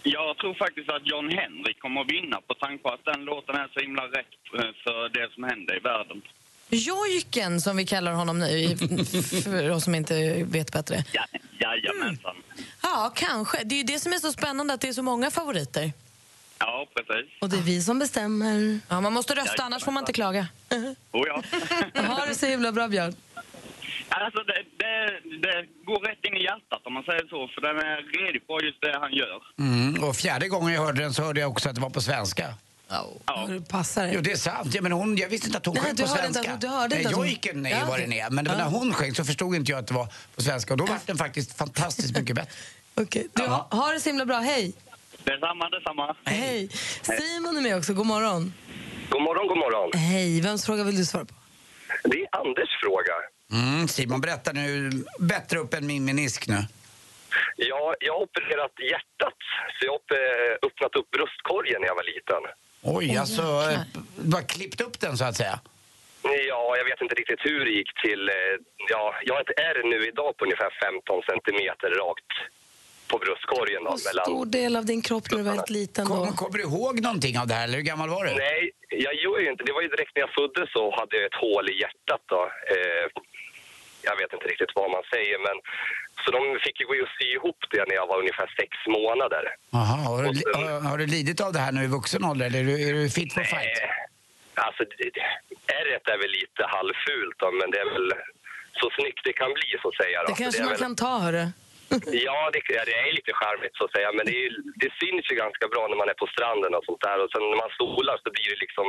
Speaker 15: Jag tror faktiskt att John Henrik kommer att vinna på tanke på att den låten är så himla rätt eh, för det som händer i världen.
Speaker 5: Jojken som vi kallar honom nu, i- för oss som inte vet bättre.
Speaker 15: Ja, jajamensan.
Speaker 5: Ja, kanske. Det är ju det som är så spännande, att det är så många favoriter.
Speaker 15: Ja, precis.
Speaker 3: Och det är vi som bestämmer.
Speaker 5: Ja, man måste rösta, annars får man inte klaga.
Speaker 15: Oh, ja.
Speaker 3: Ha det så himla bra, Björn.
Speaker 15: Alltså, det, det, det går rätt in i hjärtat om man säger så, för den är redigt bra just det han gör.
Speaker 4: Mm. Och fjärde gången jag hörde den så hörde jag också att det var på svenska.
Speaker 3: Ja.
Speaker 4: Mm,
Speaker 3: Du passar
Speaker 4: Jo, det är sant. Ja, men hon, jag visste inte att hon
Speaker 3: Nej,
Speaker 4: sjöng
Speaker 3: du
Speaker 4: på
Speaker 3: hörde inte
Speaker 4: svenska.
Speaker 3: att- du hörde inte
Speaker 4: Nej,
Speaker 3: att hon-
Speaker 4: jojken
Speaker 3: Ja,
Speaker 4: är ju vad
Speaker 3: okej.
Speaker 4: den är. Men det var
Speaker 3: Ja.
Speaker 4: när hon sjöng så förstod inte jag att det var på svenska. Och då var den faktiskt fantastiskt mycket bättre.
Speaker 3: Okej. Du, ha, ha det så himla bra. Hej.
Speaker 15: Detsamma, detsamma.
Speaker 3: Hej. Simon är med också. God morgon.
Speaker 16: God morgon, god morgon.
Speaker 3: Hej. Vems fråga vill du svara på?
Speaker 16: Det är Anders fråga.
Speaker 4: Mm, Simon, berätta nu. Bättre upp än min menisk nu.
Speaker 16: Jag, jag har opererat hjärtat, så jag har eh, öppnat upp bröstkorgen när jag var liten.
Speaker 4: Oj, alltså. eh, Bara klippt upp den så att säga.
Speaker 16: Ja, jag vet inte riktigt hur det gick till. eh, Ja, jag har ett ärr nu idag på ungefär 15 centimeter rakt på bröstkorgen. Då,
Speaker 3: Stor del av din kropp när du var helt liten då.
Speaker 4: Kommer du ihåg någonting av det här? Eller hur gammal var du?
Speaker 16: Nej, jag gör ju inte. Det var ju direkt när jag föddes så hade jag ett hål i hjärtat då. Eh, jag vet inte riktigt vad man säger, men så de fick ju gå och sy ihop det när jag var ungefär sex månader.
Speaker 4: Jaha, har, du li- har, har du lidit av det här nu i vuxen ålder? Eller är du, är du fit for fight?
Speaker 16: Alltså, det- det- ärret är väl lite halvfult då, men det är väl så snyggt det kan bli så att säga. Då.
Speaker 3: Det kanske
Speaker 16: är
Speaker 3: man
Speaker 16: väl,
Speaker 3: kan ta, hörru.
Speaker 16: Ja, det, ja, det är lite charmigt så att säga, men det, är, det syns ju ganska bra när man är på stranden och sånt där. Och sen när man solar så blir det liksom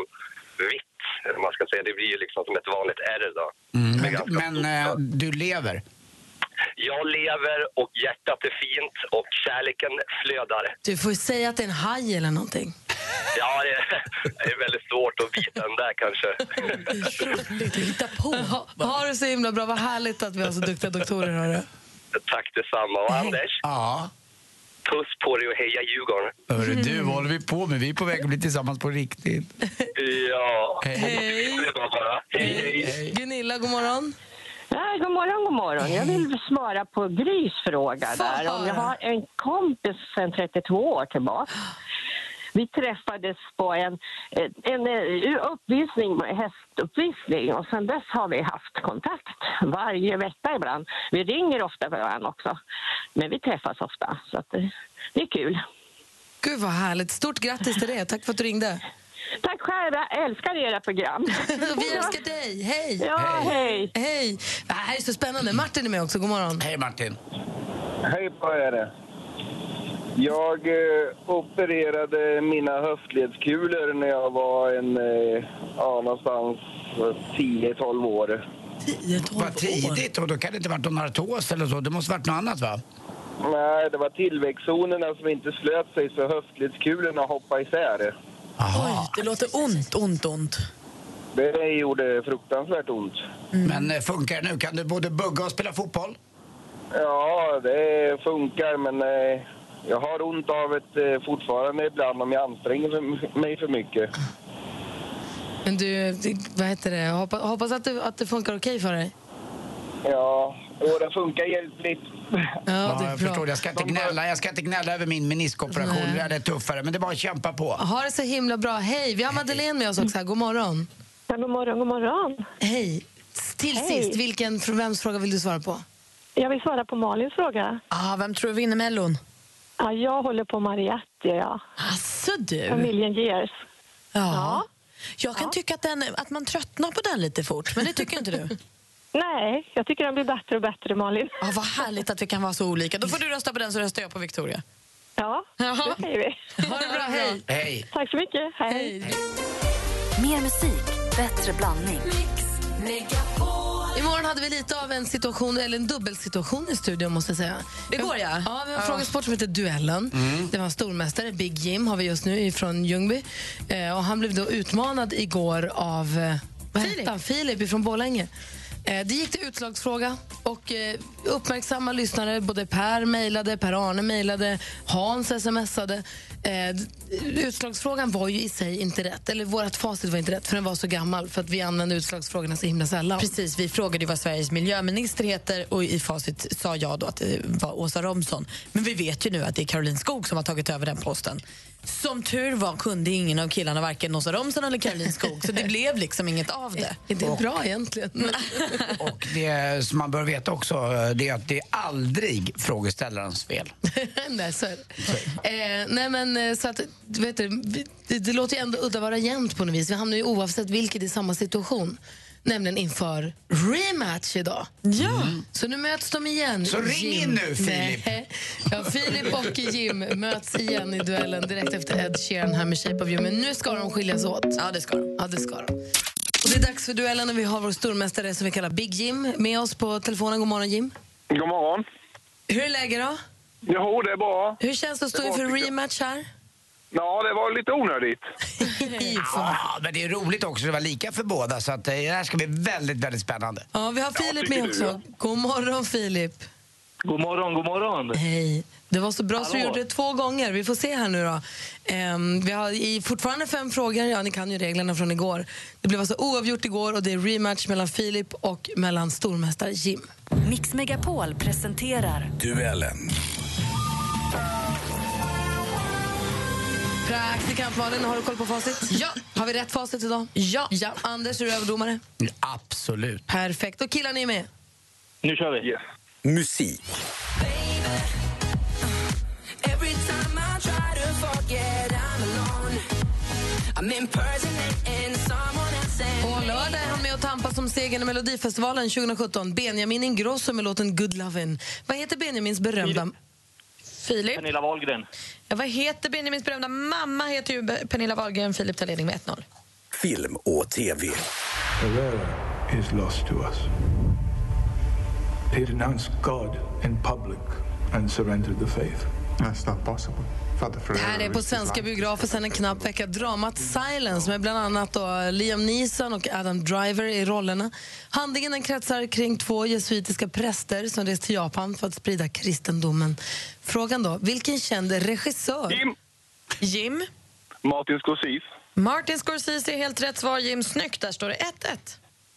Speaker 16: vitt, eller vad man ska säga. Det blir ju liksom som ett vanligt ärr då.
Speaker 4: Mm,
Speaker 16: Det är ganska
Speaker 4: men
Speaker 16: stort.
Speaker 4: eh, du lever?
Speaker 16: Jag lever och hjärtat är fint och kärleken flödar.
Speaker 3: Du får ju säga att det är en haj eller någonting.
Speaker 16: Ja, det är, det är väldigt svårt att bita den där kanske.
Speaker 3: Hitta på. Ha, ha det så himla bra. Vad härligt att vi har så duktiga doktorer, hörru.
Speaker 16: Tack detsamma. Och Anders?
Speaker 4: Ja.
Speaker 16: Puss på dig och heja Djurgården.
Speaker 4: Hörru du,
Speaker 5: Mm.
Speaker 4: vad håller vi på med? Vi är på väg att bli tillsammans på riktigt.
Speaker 16: Ja.
Speaker 4: Hej.
Speaker 16: Det var bara. Hej, hej.
Speaker 3: Gunilla, god morgon.
Speaker 17: Nej, god morgon, god morgon. Jag vill svara på Grys fråga
Speaker 3: Få
Speaker 17: där. Om jag
Speaker 3: höra.
Speaker 17: har en kompis sedan 32 år tillbaka. Vi träffades på en, en eh, uppvisning, hästuppvisning och sedan dess har vi haft kontakt varje vecka ibland. Vi ringer ofta varandra också, men vi träffas ofta så att det, det är kul.
Speaker 3: Gud vad härligt. Stort grattis till det. Tack för att du ringde.
Speaker 17: Tack själv, jag älskar era program.
Speaker 3: Vi älskar dig. Hej!
Speaker 17: Ja, hej.
Speaker 3: Hej! Det här är så spännande. Martin är med också. God morgon.
Speaker 4: Hej, Martin.
Speaker 18: Hej på er. Jag eh, opererade mina höftledskulor när jag var en, eh, ja, någonstans eh, 10-12 år.
Speaker 4: Vad tidigt, och då kan det inte varit någon artos eller så. Det måste varit något annat va?
Speaker 18: Nej, det var tillväxtzonerna som inte slöt sig så höftledskulorna hoppade isär.
Speaker 5: Oj, det låter ont, ont, ont.
Speaker 18: Det gjorde fruktansvärt ont.
Speaker 5: Mm.
Speaker 4: Men eh, funkar det nu? Kan du både bugga och spela fotboll?
Speaker 18: Ja, det funkar, men eh, jag har ont av det eh, fortfarande ibland om jag anstränger för, mig för mycket.
Speaker 3: Men du, det- vad heter det? Jag Hoppas, hoppas att, du, att det funkar okej för dig.
Speaker 18: Ja, och det funkar hjälpligt.
Speaker 4: Ja, jag förstår. Jag ska, inte gnälla. jag ska inte gnälla över min meniskoperation.
Speaker 3: Nej.
Speaker 4: Det där är tuffare, men det är bara att kämpa på.
Speaker 3: Ha det så himla bra. Hej! Vi har Madeleine med oss också. Här. God morgon.
Speaker 19: Ja, god morgon, god morgon.
Speaker 3: Hej! Till
Speaker 19: Hej.
Speaker 3: sist, vilken, från vems fråga vill du svara på?
Speaker 19: Jag vill svara på Malins fråga.
Speaker 5: Ah, vem tror du vinner Mellon?
Speaker 19: Ja, jag håller på Mariette, ja.
Speaker 5: Asså du!
Speaker 19: Familjen Gears.
Speaker 5: Ja. Jag kan tycka att, den, att man tröttnar på den lite fort, men det tycker inte du?
Speaker 19: Nej, jag tycker den blir bättre och bättre, Malin.
Speaker 5: Ja, vad härligt att vi kan vara så olika. Då får du rösta på den så röstar jag på Victoria.
Speaker 19: Ja, det säger vi.
Speaker 5: Ha det bra, hej!
Speaker 4: Hej!
Speaker 19: Tack så mycket, hej.
Speaker 1: Mer musik, bättre blandning.
Speaker 3: Imorgon hade vi lite av en situation, eller en dubbelsituation i studion måste jag säga.
Speaker 5: Igår, ja.
Speaker 3: Ja, vi har en
Speaker 5: Ja.
Speaker 3: frågesport som heter Duellen.
Speaker 5: Mm.
Speaker 3: Det var en stormästare, Big Jim har vi just nu från Ljungby. Eh, och han blev då utmanad igår av eh, vad hette han? Filip från Borlänge. Eh, det gick till utslagsfråga och eh, uppmärksamma lyssnare, både Per mejlade, Per-Arne mejlade, Hans smsade. Eh, d- utslagsfrågan var ju i sig inte rätt, eller vårt facit var inte rätt för den var så gammal för att vi använde utslagsfrågorna så himla sällan.
Speaker 5: Precis, vi frågade ju vad Sveriges miljöminister heter och i facit sa jag då att det var Åsa Romson. Men vi vet ju nu att det är Caroline Skog som har tagit över den posten. Som tur var kunde ingen av killarna varken Åsa Romson eller Caroline Skog så det blev liksom inget av det. Mm.
Speaker 3: Är det bra egentligen?
Speaker 4: Och det som man bör veta också, eh, det är att det är aldrig frågeställarens fel.
Speaker 3: nej, så är det. Eh, nej, men eh, så att, du vet du, vi- det, det låter ju ändå udda att vara jämnt på något vis. Vi hamnar ju oavsett vilket i samma situation. Nämligen inför rematch idag. Ja. Så nu möts de igen.
Speaker 4: Så ring in nu, Filip.
Speaker 3: Nej. Ja, Filip och Jim möts igen i duellen direkt efter Ed Sheeran här med Shape of You. Men nu ska de skiljas åt. Ja, det ska de. Ja, det ska de. Och det är dags för duellen och vi har vår stormästare som vi kallar Big Jim med oss på telefonen. God morgon Jim.
Speaker 9: God morgon.
Speaker 3: Hur är läget då?
Speaker 9: Jo, det är bra.
Speaker 3: Hur känns det att stå
Speaker 9: Det var
Speaker 3: inför
Speaker 9: mycket.
Speaker 3: rematch här?
Speaker 9: Ja, det var lite onödigt.
Speaker 4: Ja, men det är roligt också, det var lika för båda. Så att eh, det här ska bli väldigt, väldigt spännande.
Speaker 3: Ja, vi har Filip med
Speaker 4: tycker du,
Speaker 3: också. God morgon, Filip.
Speaker 20: God morgon, god morgon.
Speaker 3: Hej. Det var så bra så du
Speaker 20: Hallå.
Speaker 3: gjorde det två gånger. Vi får se här nu då. Ehm, vi har i, fortfarande fem frågor. Ja, ni kan ju reglerna från igår. Det blev alltså oavgjort igår och det är rematch mellan Filip och mellan stormästare Jim.
Speaker 1: Mix Megapol presenterar
Speaker 11: Duellen.
Speaker 3: Praktikant Malin, har du koll på facit? Ja. Har vi rätt facit idag? Ja. ja. Anders, är du överdomare?
Speaker 4: Absolut.
Speaker 3: Perfekt. Och killar, ni är med?
Speaker 20: Nu kör vi.
Speaker 11: Musik.
Speaker 21: Every time I try to forget I'm alone I'm impersonating someone else and-
Speaker 3: På lördag är han med och tampas om segern i Melodifestivalen 2017. Benjamin Ingrosso med låten Good Lovin'. Vad heter Benjamins berömda...
Speaker 5: Filip.
Speaker 20: Pernilla Wahlgren.
Speaker 5: Ja, vad heter Benjamins berömda mamma? heter ju Be- Pernilla Wahlgren. Filip tar ledning med 1-0.
Speaker 11: Film och TV.
Speaker 22: Herrera is lost to us. He denounced God in public and surrendered the faith. That's not possible. Father
Speaker 3: Det här är
Speaker 22: Ferrero
Speaker 3: på
Speaker 22: is
Speaker 3: svenska
Speaker 22: like-
Speaker 3: biografer sedan en knapp vecka. Dramat Silence med bland annat då Liam Neeson och Adam Driver i rollerna. Handlingen den kretsar kring två jesuitiska präster som rest till Japan för att sprida kristendomen. Frågan då, vilken känd regissör? Jim.
Speaker 5: Jim?
Speaker 20: Martin Scorsese.
Speaker 5: Martin Scorsese är helt rätt svar. Jim, snyggt. Där står det 1-1.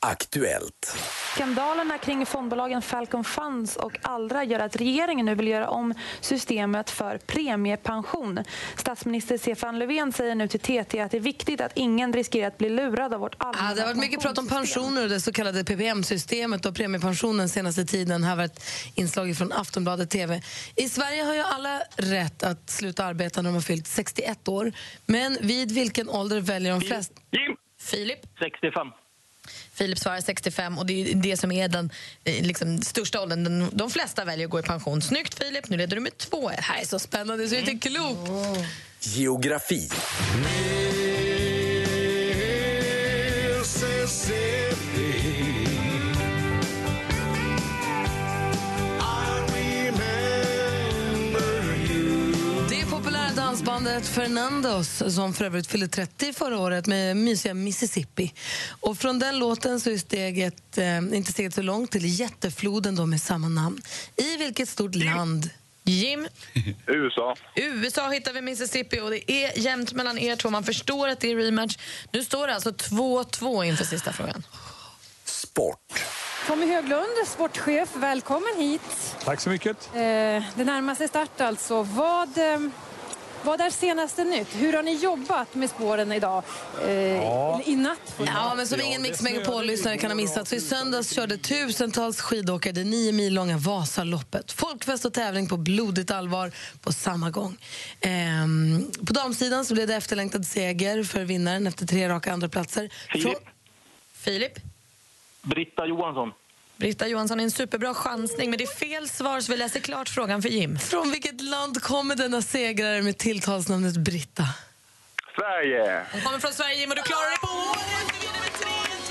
Speaker 2: Aktuellt.
Speaker 13: Skandalerna kring fondbolagen Falcon Funds och Allra gör att regeringen nu vill göra om systemet för premiepension. Statsminister Stefan Löfven säger nu till TT att det är viktigt att ingen riskerar att bli lurad av vårt allmänna
Speaker 3: Ja, det har varit mycket prat om pensioner och det så kallade PPM-systemet och premiepensionen senaste tiden. Här var ett inslag från Aftonbladet TV. I Sverige har ju alla rätt att sluta arbeta när de har fyllt 61 år. Men vid vilken ålder väljer de flesta...
Speaker 20: Jim!
Speaker 5: Filip?
Speaker 20: 65.
Speaker 5: Filip svarar 65 och det är ju det som är den eh, liksom, största åldern. Den, de flesta väljer att gå i pension. Snyggt Filip, nu leder du med 2 Det här är så spännande så det är inte klokt.
Speaker 2: Geografi.
Speaker 3: Det populära dansbandet Fernandos som för övrigt fyllde 30 förra året med mysiga Mississippi. Och från den låten så är steget, eh, inte steget så långt, till jättefloden då med samma namn. I vilket stort land?
Speaker 5: Jim?
Speaker 20: USA.
Speaker 5: USA hittar vi Mississippi och det är jämnt mellan er två. Man förstår att det är rematch. Nu står det alltså 2-2 inför sista frågan.
Speaker 23: Tommy Höglund, sportchef, välkommen hit.
Speaker 24: Tack så mycket.
Speaker 23: Eh, det närmar sig start alltså. Vad, eh, vad är senaste nytt? Hur har ni jobbat med spåren idag? Eh, eller I natt? får jag säga.
Speaker 3: Ja, men som ingen Mix Megapol-lyssnare kan ha missat så i söndags körde tusentals skidåkare det nio mil långa Vasaloppet. Folkfest och tävling på blodigt allvar på samma gång. Ehm, på damsidan så blev det efterlängtad seger för vinnaren efter tre raka andra platser.
Speaker 20: Filip.
Speaker 5: Filip?
Speaker 20: Britta Johansson.
Speaker 5: Britta Johansson är en superbra chansning, men det är fel svar så vi läser klart frågan för Jim.
Speaker 3: Från vilket land kommer denna segrare med tilltalsnamnet Britta?
Speaker 20: Sverige.
Speaker 5: Hon kommer från Sverige Jim och du klarar det på året!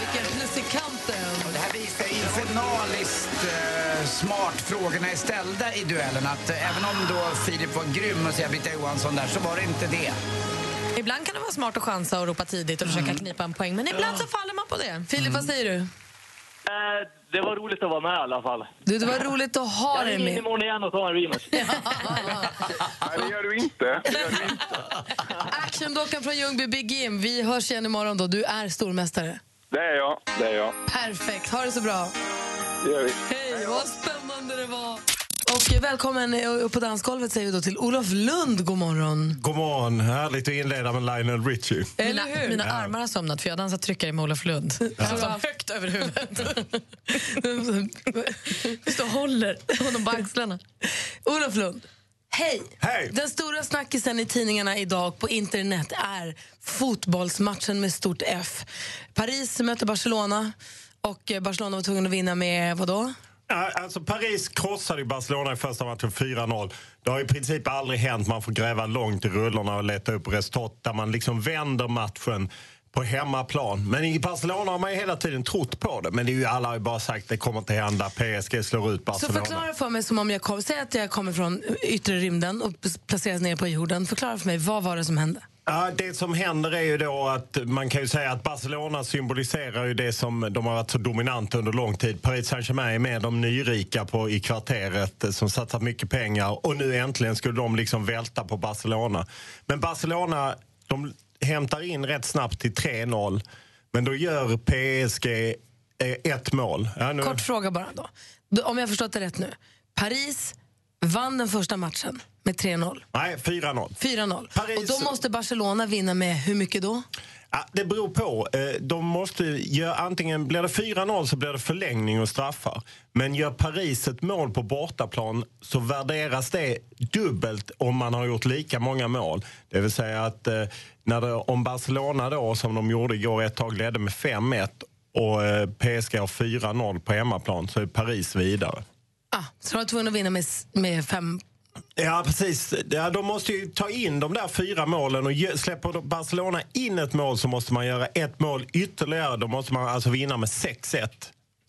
Speaker 3: Vilken musikanten!
Speaker 4: Och det här visar infernaliskt eh, smart frågorna är ställda i duellen. Att eh, även om då Filip var grym och säga Britta Johansson där så var det inte det.
Speaker 5: Ibland kan det vara smart att chansa och ropa tidigt och försöka knipa en poäng, men ibland så faller man på det.
Speaker 3: Mm. Filip, vad säger du?
Speaker 20: Eh, det var roligt att vara med i alla fall.
Speaker 3: Du, det var roligt att ha
Speaker 20: Jag
Speaker 3: dig
Speaker 20: ringer
Speaker 3: med.
Speaker 20: imorgon igen och tar en rematch. Nej, det gör du inte.
Speaker 3: Actiondockan från Ljungby, Big Jim. Vi hörs igen imorgon då. Du är stormästare.
Speaker 20: Det är jag. Det är jag.
Speaker 3: Perfekt, ha det så bra.
Speaker 20: Det gör vi.
Speaker 3: Hej, vad spännande det var. Och välkommen eh, upp på dansgolvet säger vi då till Olof Lund. God morgon.
Speaker 25: God morgon. Härligt att inleda med Lionel Richie.
Speaker 5: mina, mina armar har somnat för jag dansar tryckare med Olof Lund. Alltså, högt över huvudet. Just och håller honom på axlarna.
Speaker 3: Olof Lund, hej.
Speaker 25: hej!
Speaker 3: Den stora snackisen i tidningarna idag och på internet är fotbollsmatchen med stort F. Paris möter Barcelona och eh, Barcelona var tvungen att vinna med vadå?
Speaker 25: Ja, Alltså Paris krossade ju Barcelona i första matchen 4-0. Det har i princip aldrig hänt. Man får gräva långt i rullorna och leta upp resultat där man liksom vänder matchen på hemmaplan. Men i Barcelona har man ju hela tiden trott på det. Men det är ju, alla har ju bara sagt det kommer inte hända. PSG slår ut
Speaker 3: Så
Speaker 25: Barcelona.
Speaker 3: förklara för mig, som om jag kom, säg att jag kommer från yttre rymden och placeras ner på jorden. Förklara för mig, vad var det som hände?
Speaker 25: Ja, det som händer är ju då att man kan ju säga att Barcelona symboliserar ju det som de har varit så dominanta under lång tid. Paris Saint-Germain är med de nyrika på, i kvarteret eh, som satsar mycket pengar och nu äntligen skulle de liksom välta på Barcelona. Men Barcelona, de hämtar in rätt snabbt till 3-0 men då gör PSG eh, ett mål. Ja, nu...
Speaker 3: Kort fråga bara då. Du, Om jag förstått det rätt nu. Paris vann den första matchen med 3-0.
Speaker 25: Nej, 4-0.
Speaker 3: 4-0.
Speaker 25: Paris-
Speaker 3: Och då måste Barcelona vinna med hur mycket då?
Speaker 25: Ja, det beror på. Eh, De måste göra, antingen blir det 4-0 så blir det förlängning och straffar. Men gör Paris ett mål på bortaplan så värderas det dubbelt om man har gjort lika många mål. Det vill säga att eh, när det, om Barcelona då, som de gjorde igår, ett tag ledde med 5-1 och eh, PSG har 4-0 på hemmaplan så är Paris vidare.
Speaker 3: Ah, så de var tvungna att vinna med, s- med fem...
Speaker 25: Ja, precis. Ja, de måste ju ta in de där fyra målen och ge- släpper då Barcelona in ett mål så måste man göra ett mål ytterligare. Då måste man alltså vinna med 6-1.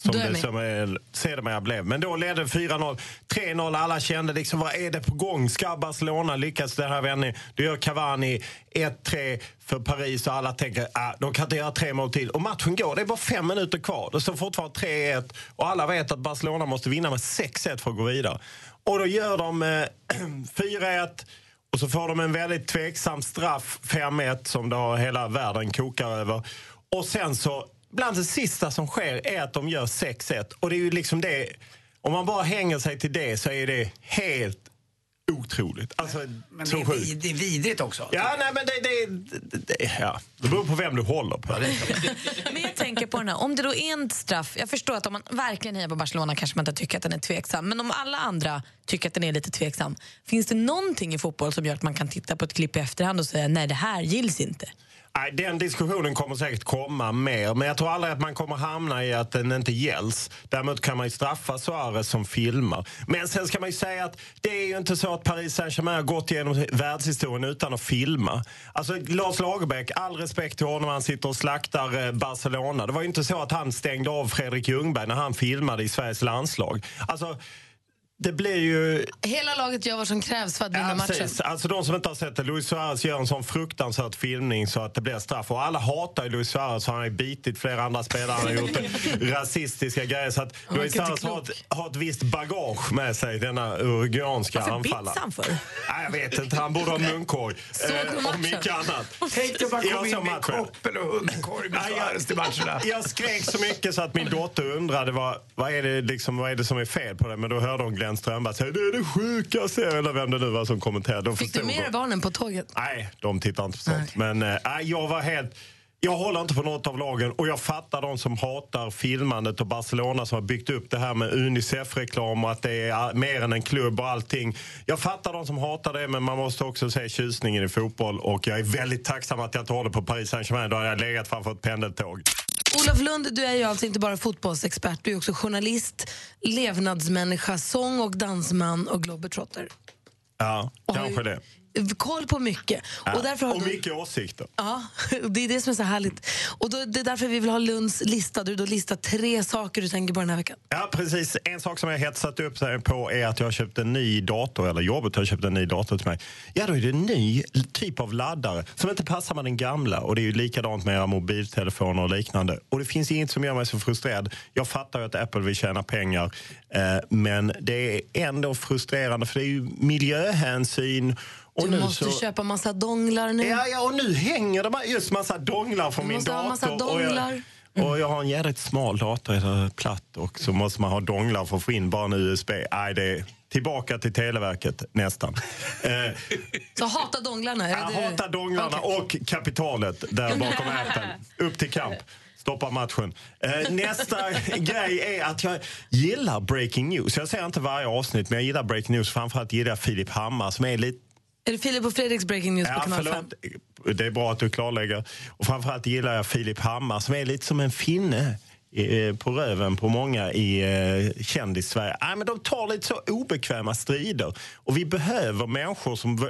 Speaker 25: Som
Speaker 3: Då är jag
Speaker 25: det
Speaker 3: med.
Speaker 25: som är, sedermera blev. Men då ledde 4-0. 3-0, alla kände liksom vad är det på gång? Ska Barcelona lyckas den här vändningen? Då gör Cavani 1-3 för Paris och alla tänker ah, de kan inte göra tre mål till. Och matchen går, det är bara fem minuter kvar. Det står fortfarande 3-1 och alla vet att Barcelona måste vinna med 6-1 för att gå vidare. Och då gör de eh, 4-1. Och så får de en väldigt tveksam straff, 5-1, som då hela världen kokar över. Och sen så, bland det sista som sker är att de gör 6-1. Och det är ju liksom det, om man bara hänger sig till det så är det helt otroligt. Alltså,
Speaker 4: Men
Speaker 25: så
Speaker 4: det är,
Speaker 25: sjukt.
Speaker 4: vid, det är vidrigt också.
Speaker 25: Ja, nej men det... det, det, det ja. det beror på vem du håller på.
Speaker 5: Men jag tänker på den här, om det då är en straff, jag förstår att om man verkligen hejar på Barcelona kanske man inte tycker att den är tveksam, men om alla andra tycker att den är lite tveksam, finns det någonting i fotboll som gör att man kan titta på ett klipp i efterhand och säga nej det här gills inte?
Speaker 25: Nej, den diskussionen kommer säkert komma mer, men jag tror aldrig att man kommer hamna i att den inte gälls. Däremot kan man ju straffa Suarez som filmar. Men sen ska man ju säga att det är ju inte så att Paris Saint-Germain har gått igenom världshistorien utan att filma. Alltså Lars Lagerbäck, all respekt till honom, han sitter och slaktar eh, Barcelona. Det var ju inte så att han stängde av Fredrik Ljungberg när han filmade i Sveriges landslag. Alltså, det blir ju
Speaker 3: Hela laget gör vad som krävs för att vinna
Speaker 25: Ja,
Speaker 3: matchen.
Speaker 25: precis. Alltså de som inte har sett det, Luis Suarez gör en sån fruktansvärd filmning så att det blir straff. Och alla hatar ju Luis Suarez för han har ju bitit flera andra spelare, han har gjort rasistiska grejer. Så att
Speaker 11: Han
Speaker 25: Luis
Speaker 11: verkar
Speaker 25: Suarez
Speaker 11: inte
Speaker 25: har ett, har ett visst bagage med sig, denna uruguanska
Speaker 11: Varför bits
Speaker 25: anfallare.
Speaker 11: han för?
Speaker 25: Nej, jag vet inte, han borde ha munkorg.
Speaker 11: Såg du
Speaker 25: Eh,
Speaker 11: matchen?
Speaker 25: Om mycket annat.
Speaker 4: Tänk dig bara
Speaker 25: Jag
Speaker 4: komma in
Speaker 25: såg
Speaker 4: med
Speaker 25: matchen.
Speaker 4: koppel och hundkorg med Suarez till matcherna.
Speaker 25: Jag skrek så mycket så att min dotter undrade vad, vad, är det liksom, vad är det som är fel på det. Men då hörde hon Glenn Strömberg säga det är det sjukaste jag Eller vem det nu var som kommenterade. De
Speaker 3: Fick du
Speaker 25: förstod
Speaker 3: med dig
Speaker 25: då.
Speaker 3: barnen på tåget?
Speaker 25: Nej, de tittar inte på sånt. Men eh, nej, jag var helt... Jag håller inte på något av lagen och jag fattar de som hatar filmandet och Barcelona som har byggt upp det här med Unicef-reklam och att det är all- mer än en klubb och allting. Jag fattar de som hatar det men man måste också se tjusningen i fotboll och jag är väldigt tacksam att jag inte håller på Paris Saint-Germain. Då hade jag legat framför ett pendeltåg.
Speaker 3: Olof Lund, du är ju alltså inte bara fotbollsexpert, du är också journalist, levnadsmänniska, sång och dansman och globetrotter.
Speaker 25: Ja, kanske det.
Speaker 3: Koll på mycket.
Speaker 25: Ja.
Speaker 3: Och därför har
Speaker 25: Äh, och
Speaker 3: du...
Speaker 25: mycket åsikter.
Speaker 3: Ja, det är det som är så härligt. Och då, det är därför vi vill ha Lunds lista. Du har då listat tre saker du tänker på den här veckan.
Speaker 25: Ja, precis. En sak som jag hetsat upp mig på är att jag har köpt en ny dator, eller jobbet har köpt en ny dator till mig. Ja, då är det en ny typ av laddare som inte passar med den gamla. Och det är ju likadant med era mobiltelefoner och liknande. Och det finns inget som gör mig så frustrerad. Jag fattar ju att Apple vill tjäna pengar, eh, men det är ändå frustrerande för det är ju miljöhänsyn. Och
Speaker 3: Du
Speaker 25: nu
Speaker 3: måste
Speaker 25: så...
Speaker 3: köpa massa donglar nu.
Speaker 25: Ja, ja, och nu hänger det bara just massa donglar från
Speaker 3: Du
Speaker 25: min
Speaker 3: måste ha
Speaker 25: dator.
Speaker 3: massa
Speaker 25: Och
Speaker 3: donglar.
Speaker 25: jag... Och jag har en jävligt smal dator, eller platt, och så måste man ha donglar för att få in bara en USB. Nej, det är tillbaka till Televerket, nästan. Eh,
Speaker 3: Så hata donglarna.
Speaker 25: jag hatar donglarna och kapitalet där bakom Apple. Upp till kamp. Stoppa matchen. Eh, nästa grej är att jag gillar breaking news. Jag ser inte varje avsnitt, men jag gillar breaking news. Framförallt gillar jag Filip Hammar som är lite
Speaker 3: Är det Filip och Fredriks Breaking News på kanal 5?
Speaker 25: det är bra att du klarlägger. Och framförallt gillar jag Filip Hammar som är lite som en finne eh, på röven på många i eh, kändis-Sverige. Nej, men de tar lite så obekväma strider. Och vi behöver människor som v-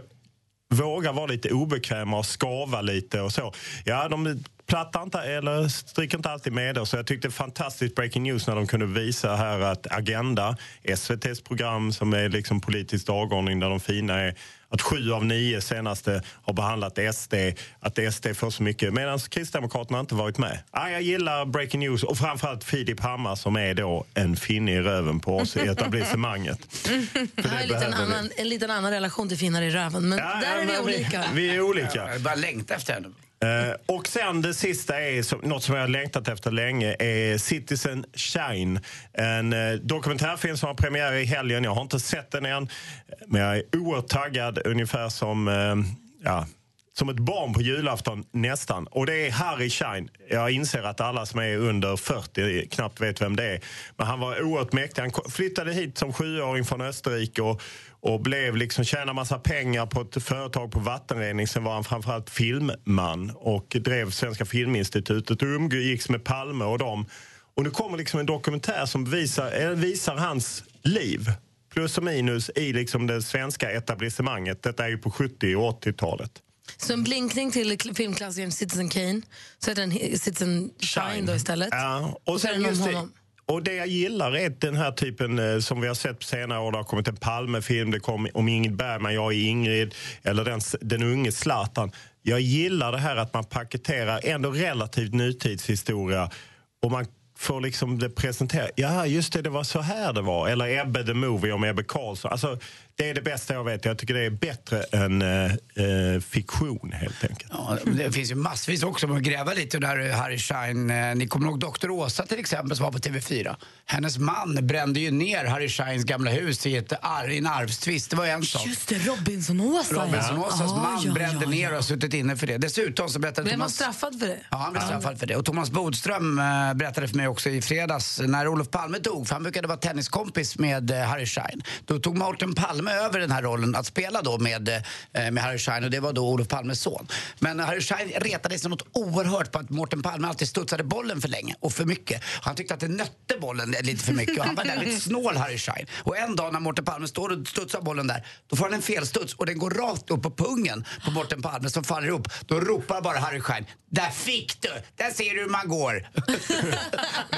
Speaker 25: vågar vara lite obekväma och skava lite och så. Ja, de plattar inte eller stryker inte alltid med oss. Så jag tyckte det var fantastiskt breaking news när de kunde visa här att Agenda, SVTs program som är liksom politisk dagordning där de fina är att sju av nio senaste har behandlat SD, att SD får så mycket medan Kristdemokraterna inte varit med. Ja, jag gillar breaking news och framförallt Filip Hammar som är då en finne i röven på oss i etablissemanget.
Speaker 3: Jag har en liten,
Speaker 25: behöver vi.
Speaker 3: annan, en liten annan relation till finnar i röven, men där är vi
Speaker 25: men
Speaker 3: olika.
Speaker 25: Vi är olika.
Speaker 4: Jag bara längtar efter henne.
Speaker 25: Eh, och sen det sista är som, något som jag har längtat efter länge är Citizen Shine. En eh, dokumentärfilm som har premiär i helgen. Jag har inte sett den än. Men jag är oerhört taggad, ungefär som, eh, ja, som ett barn på julafton nästan. Och det är Harry Shine. Jag inser att alla som är under 40 knappt vet vem det är. Men han var oerhört mäktig. Han ko- flyttade hit som sjuåring från Österrike och, och blev liksom, tjänade massa pengar på ett företag på vattenrening. Sen var han framförallt filmman och drev Svenska Filminstitutet och umgicks med Palme och dem. Och nu kommer liksom en dokumentär som visar, eller visar hans liv. Plus och minus i liksom det svenska etablissemanget. Detta är ju på 70 och 80-talet.
Speaker 3: Så en blinkning till kl- filmklassikern Citizen Kane, så heter den Hi- Citizen Shine, då istället.
Speaker 25: Ja, och
Speaker 3: så är
Speaker 25: sen
Speaker 3: den om
Speaker 25: just det,
Speaker 3: honom.
Speaker 25: Och det jag gillar är den här typen eh, som vi har sett på senare år. Det har kommit en Palmefilm, det kom om Ingrid Bergman, jag är Ingrid, eller den, den unge Zlatan. Jag gillar det här att man paketerar ändå relativt nutidshistoria och man får liksom det presenterat. Ja, just det, det var så här det var. Eller Ebbe the Movie om Ebbe Carlsson. Alltså, det är det bästa jag vet. Jag tycker det är bättre än eh, eh, fiktion helt enkelt.
Speaker 4: Ja, men det finns ju massvis också, man gräva lite där Harry Schein, eh, ni kommer ihåg Dr. Åsa till exempel som var på TV4. Hennes man brände ju ner Harry Scheins gamla hus i, ett ar- i en arvstvist, det var en sak.
Speaker 21: Just det, Robinson-Åsa. ja.
Speaker 4: Robinson-Åsas
Speaker 21: Ja,
Speaker 4: man
Speaker 21: ja,
Speaker 4: brände
Speaker 21: ja,
Speaker 4: ner och har suttit inne för det. Dessutom så berättade
Speaker 3: Blev man
Speaker 4: Thomas...
Speaker 3: straffad för det?
Speaker 4: Ja, han blev straffad för det. Och Thomas Bodström eh, berättade för mig också i fredags när Olof Palme dog, för han brukade vara tenniskompis med eh, Harry Schein. Då tog Morten Palme över den här rollen att spela då med, eh, med Harry Schein och det var då Olof Palmes son. Men Harry Schein retade sig något oerhört på att Morten Palme alltid studsade bollen för länge och för mycket. Han tyckte att det nötte bollen lite för mycket och han var väldigt snål Harry Schein. Och en dag när Morten Palme står och studsar bollen där, då får han en felstuds och den går rakt upp på pungen på Morten Palme som faller upp. Då ropar bara Harry Schein, där fick du! Där ser du hur man går! det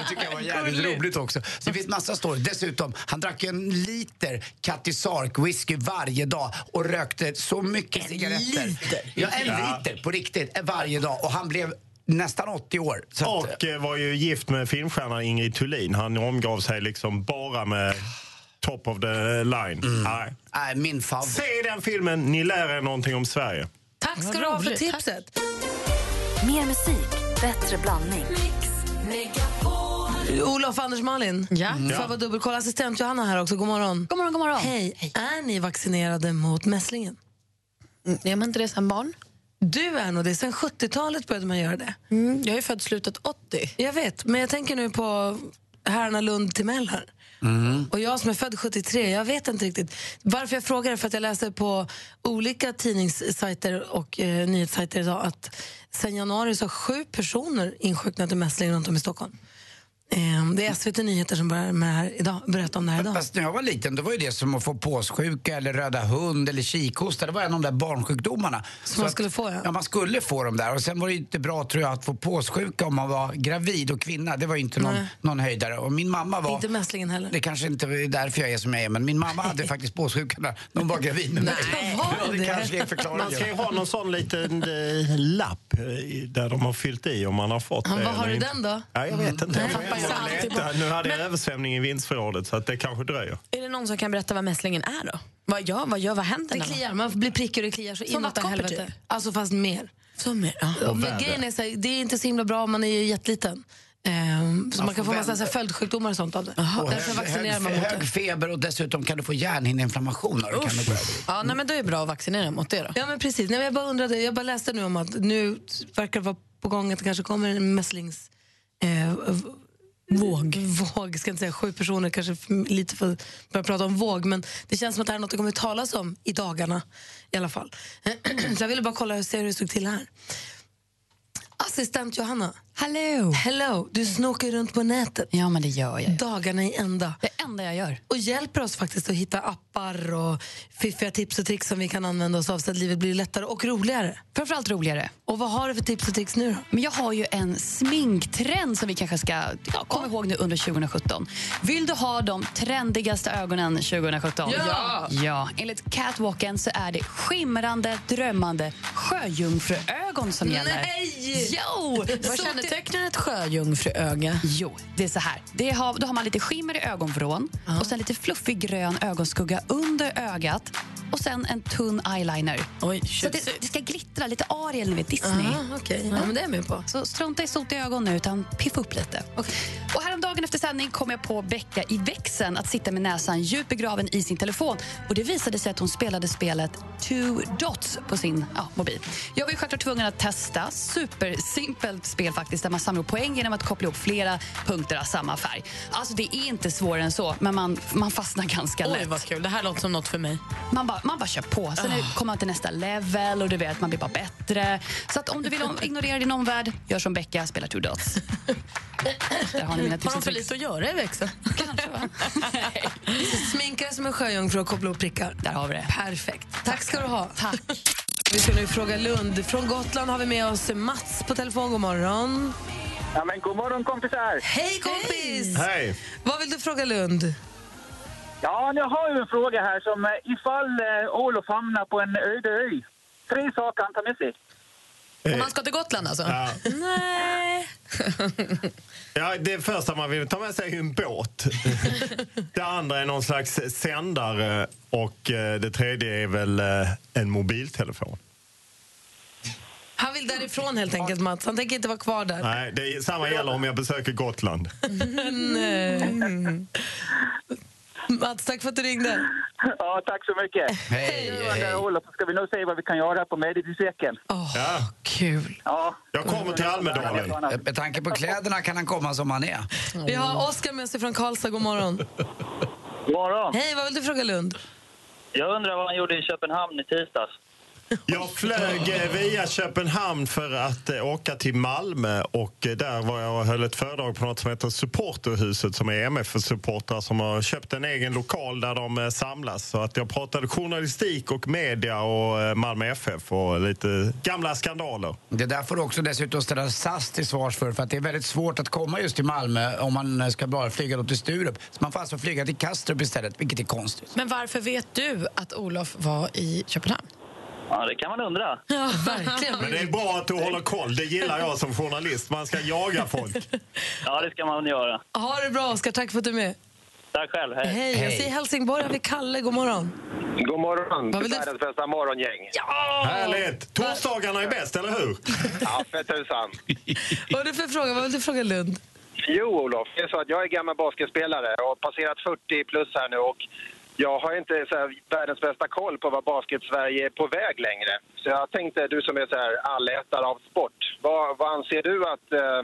Speaker 4: tycker jag var jävligt roligt också. Så det finns massa stories. Dessutom, han drack ju en liter Katty Sark whisky varje dag och rökte så mycket cigaretter.
Speaker 25: liter?
Speaker 4: Ja, en
Speaker 25: Ja.
Speaker 4: liter på riktigt, eh, varje dag. Och han blev nästan 80 år. Så att,
Speaker 25: Och eh, var ju gift med filmstjärnan Ingrid Thulin. Han omgav sig liksom bara med top of the line.
Speaker 4: Mm.
Speaker 25: Nej.
Speaker 4: Nej, min favorit.
Speaker 25: Se den filmen, ni lär er någonting om Sverige.
Speaker 3: Tack ska du ha för
Speaker 1: roligt.
Speaker 3: tipset.
Speaker 1: Mer musik, bättre blandning.
Speaker 3: Olof, Anders, Malin. Ja. Får jag vara dubbelkolla? Assistent Johanna här också. God morgon. God morgon, god morgon. Hej. Är ni vaccinerade mot mässlingen?
Speaker 21: Mm, Är man inte det sen barn?
Speaker 3: Du är nog det. Sen 70-talet började man göra det.
Speaker 21: Mm, Jag är född slutet 80.
Speaker 3: Jag vet, men jag tänker nu på herrarna Lund Timell här.
Speaker 4: Mm.
Speaker 3: Och jag som är född 73, jag vet inte riktigt. Varför jag frågar är för att jag läser på olika tidningssajter och eh, nyhetssajter idag att sen januari så har sju personer insjuknat i mässling runt om i Stockholm. Eh, det är SVT Nyheter som börjar med det här idag, berättar om det här idag.
Speaker 4: Fast när jag var liten då var ju det som att få påssjuka eller röda hund eller kikhosta. Det var en av de där barnsjukdomarna. Som
Speaker 3: man skulle få ja.
Speaker 4: Ja, man skulle få dem där. Och sen var det ju inte bra tror jag att få påssjuka om man var gravid och kvinna. Det var ju inte någon,
Speaker 3: Nej.
Speaker 4: någon höjdare. Och min mamma var...
Speaker 3: Inte mässlingen heller.
Speaker 4: Det kanske inte är därför jag är som jag är, men min mamma hade faktiskt påssjuka när hon var gravid med mig. Ja, det kanske är förklaringen.
Speaker 25: Man ska ju ha någon sån liten eh, lapp eh, där de har fyllt i om man har fått
Speaker 3: Ja,
Speaker 25: det.
Speaker 3: vad har
Speaker 25: eller
Speaker 3: du
Speaker 25: inte.
Speaker 3: den då? Mm.
Speaker 25: Ja, jag vet inte. Jag får
Speaker 21: Pappa
Speaker 25: hem och
Speaker 21: är alltid
Speaker 25: leta.
Speaker 21: bra.
Speaker 25: Nu hade jag översvämning i vindsförrådet så att det kanske dröjer.
Speaker 21: Är det någon som kan berätta vad mässlingen är då? Vad gör, vad gör, vad händer?
Speaker 3: Det kliar, man blir prickig och det kliar så
Speaker 21: Som
Speaker 3: inåt
Speaker 21: vattkoppor,
Speaker 3: helvete.
Speaker 21: typ?
Speaker 3: Alltså fast mer.
Speaker 21: Som mer, ja.
Speaker 3: Och Men grejen är så här, det är inte så himla bra om man är jätteliten. Ehm, så
Speaker 4: Ja,
Speaker 3: man kan
Speaker 4: för
Speaker 3: få massa så
Speaker 4: vänder.
Speaker 3: här följdsjukdomar och sånt av det.
Speaker 4: Och
Speaker 3: Därför
Speaker 4: hög,
Speaker 3: vaccinerar man
Speaker 4: hög,
Speaker 3: mot det.
Speaker 4: hög feber och dessutom kan du få hjärnhinneinflammationer. Kan du gå över i.
Speaker 21: Ja, nej, men då är det bra att vaccinera mot det då.
Speaker 3: Ja men precis, Nej, men jag bara undrade, jag bara läste nu om att nu verkar det vara på gång att det kanske kommer en mässlings... Eh, v- Våg. Våg, ska inte säga sju personer kanske för- lite för börja prata om våg men det känns som att det här är något det kommer att talas om i dagarna i alla fall. Så jag ville bara kolla och se hur det stod till här. Assistent Johanna.
Speaker 21: Hello.
Speaker 3: Hello. Du snokar runt på nätet.
Speaker 21: Ja, men det gör jag.
Speaker 3: Dagarna i ända.
Speaker 21: Det enda jag gör.
Speaker 3: Och hjälper oss faktiskt att hitta appar och fiffiga tips och tricks som vi kan använda oss av så att livet blir lättare och roligare.
Speaker 21: Framförallt roligare.
Speaker 3: Och vad har du för tips och tricks nu då?
Speaker 21: Men jag har ju en sminktrend som vi kanske ska ja, komma ihåg nu under 2017. Vill du ha de trendigaste ögonen 2017?
Speaker 5: Ja!
Speaker 21: ja! Enligt catwalken så är det skimrande, drömmande sjöjungfruögon som gäller.
Speaker 5: Nej!
Speaker 21: Jo!
Speaker 5: Vad
Speaker 21: Så
Speaker 5: kännetecknar
Speaker 21: ett sjöjungfruöga? Jo, det är så här. Det har, då har man lite skimmer i ögonvrån och sen lite fluffig grön ögonskugga under ögat och sen en tunn eyeliner. så att det, det ska glittra, lite Ariel, ni vet, Disney.
Speaker 3: Aha, okej. Ja, men det är jag med på.
Speaker 21: Så strunta i sotiga ögon nu, utan piffa upp lite. Och Häromdagen efter sändning kom jag på Becka i växeln att sitta med näsan djupt begraven i sin telefon. Och Det visade sig att hon spelade spelet Two Dots på sin ja, mobil. Jag var ju självklart tvungen att testa. Supersimpelt spel faktiskt, där man samlar poäng genom att koppla ihop flera punkter av samma färg. Alltså Det är inte svårare än så, men man, man fastnar ganska
Speaker 5: Oj,
Speaker 21: lätt.
Speaker 5: vad
Speaker 21: kul. Det här låter som något för mig. Man bara, man bara kör på. Sen
Speaker 5: Ah.
Speaker 21: kommer man till nästa level och du vet, man blir bara bättre. Så att om du vill om- ignorera din omvärld, gör som Becka, spela Two Dots. Där har ni mina tips
Speaker 5: Har de
Speaker 21: och
Speaker 5: för
Speaker 21: tricks.
Speaker 5: lite att göra i växeln?
Speaker 3: Sminka dig som en sjöjungfru och koppla upp prickar.
Speaker 21: Där har vi det.
Speaker 3: Perfekt. Tack ska du ha. Tack. Vi ska nu fråga Lund. Från Gotland har vi med oss Mats på telefon. God morgon.
Speaker 7: Ja, men god morgon kompisar!
Speaker 3: Hej kompis!
Speaker 7: Hej!
Speaker 3: Vad vill du fråga Lund?
Speaker 7: Ja, nu har jag en fråga här som eh, ifall eh, Olof hamnar på en öde ö. Tre saker han tar med sig.
Speaker 5: Om man ska till Gotland alltså?
Speaker 25: Eh, Ja.
Speaker 5: Nej.
Speaker 25: Ja, det första man vill ta med sig är ju en båt. Det andra är någon slags sändare och eh, det tredje är väl eh, en mobiltelefon.
Speaker 3: Han vill därifrån helt enkelt Mats. Han tänker inte vara kvar där.
Speaker 25: Nej, det är, samma gäller om jag besöker Gotland.
Speaker 3: Nej. Mats, tack för att du ringde.
Speaker 7: Ja, tack så mycket! Hej, hej! Olof, ska vi nog se vad vi kan göra på Medeltidsveckan?
Speaker 25: ja.
Speaker 3: Kul!
Speaker 7: Ja.
Speaker 25: Jag kommer till Almedalen.
Speaker 4: Med- Med tanke på kläderna kan han komma som han är.
Speaker 3: Vi har Oskar med sig från Karlstad. God morgon.
Speaker 8: God morgon.
Speaker 3: Hej, vad vill du fråga Lund?
Speaker 8: Jag undrar vad han gjorde i Köpenhamn i tisdags.
Speaker 25: Jag flög eh, via Köpenhamn för att eh, åka till Malmö och eh, där var jag och höll ett föredrag på något som heter Supporterhuset som är MF-supportrar som har köpt en egen lokal där de eh, samlas. Så att jag pratade journalistik och media och eh, Malmö FF och lite gamla skandaler.
Speaker 4: Det där får du också dessutom ställa SAS till svars för, för att det är väldigt svårt att komma just till Malmö om man ska bara flyga då till Sturup. Så man får alltså flyga till Kastrup istället, vilket är konstigt.
Speaker 5: Men varför vet du att Olof var i Köpenhamn?
Speaker 8: Ja, det kan man undra.
Speaker 5: Ja, verkligen.
Speaker 25: Men det är bra att du håller koll. Det gillar jag som journalist. Man ska jaga folk.
Speaker 8: Ja, det ska man göra.
Speaker 3: Ha det bra Oskar, tack för att du är med.
Speaker 8: Tack själv. Hej.
Speaker 3: Hej, jag säger Helsingborg. Här vi Kalle, god morgon.
Speaker 8: God morgon.
Speaker 3: Vad vill du-
Speaker 8: Världens bästa morgongäng.
Speaker 3: Ja!
Speaker 25: Härligt! Torsdagarna är bäst, eller hur?
Speaker 8: Ja, för tusan.
Speaker 3: Vad är det för fråga? Vad vill du fråga Lund?
Speaker 8: Jo, Olof, det är så att jag är gammal basketspelare och har passerat 40 plus här nu och jag har inte så här världens bästa koll på vad basket-Sverige är på väg längre. Så jag tänkte, du som är så här allätare av sport, vad, vad anser du att eh,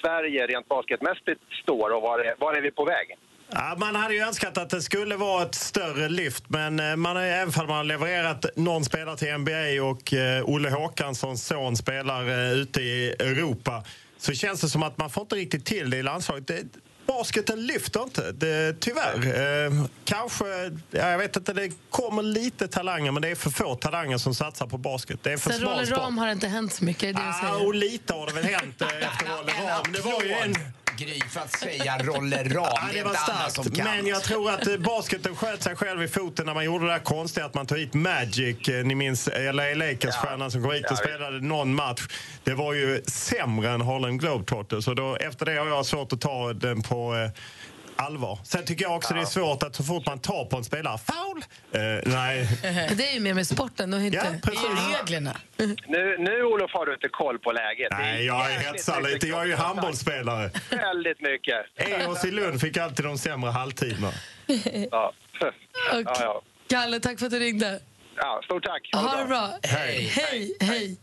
Speaker 8: Sverige rent basketmässigt står och var är, var är vi på väg?
Speaker 25: Ja, man hade ju önskat att det skulle vara ett större lyft, men eh, man har ju, även om man har levererat någon spelare till NBA och eh, Olle Håkanssons son spelar eh, ute i Europa, så känns det som att man får inte riktigt till det i landslaget. Det, basketen lyfter inte, det, tyvärr. Eh, kanske, ja, jag vet inte, det kommer lite talanger, men det är för få talanger som satsar på basket. Det är för
Speaker 3: Sen
Speaker 25: smal
Speaker 3: Rolle
Speaker 25: sport.
Speaker 3: Ram har det inte hänt så mycket, är det du
Speaker 25: Ja,
Speaker 3: säger.
Speaker 25: och lite har det väl hänt eh, efter Rolle Ram. Det var ju en...
Speaker 4: Gry, för att säga Rolle Ram.
Speaker 25: Ja,
Speaker 4: Det
Speaker 25: det
Speaker 4: är
Speaker 25: var
Speaker 4: inte alla som
Speaker 25: starkt.
Speaker 4: kan.
Speaker 25: Men jag tror att eh, basketen sköt sig själv i foten när man gjorde det där konstiga att man tog hit Magic. Eh, Ni minns LA Lakers-stjärnan som kom hit
Speaker 8: Ja,
Speaker 25: och spelade någon match. Det var ju sämre än Harlem Globetrotters. Så då, efter det har jag svårt att ta den på eh, allvar. Sen tycker jag också det är svårt att så fort man tar på en spelare, foul! Eh, nej.
Speaker 3: Det är ju mer med sporten. Och inte...
Speaker 25: precis.
Speaker 3: Det är ju reglerna.
Speaker 8: Nu, nu Olof, har du inte koll på läget.
Speaker 25: Nej, jag är hetsad lite. Jag är ju handbollsspelare.
Speaker 8: Väldigt mycket.
Speaker 25: EOS i Lund fick alltid de sämre halvtiderna.
Speaker 8: Ja. Ja, ja.
Speaker 3: Kalle, tack för att du ringde.
Speaker 8: ja, stort tack.
Speaker 3: Ha det bra.
Speaker 8: Hej.
Speaker 3: Hej, hej.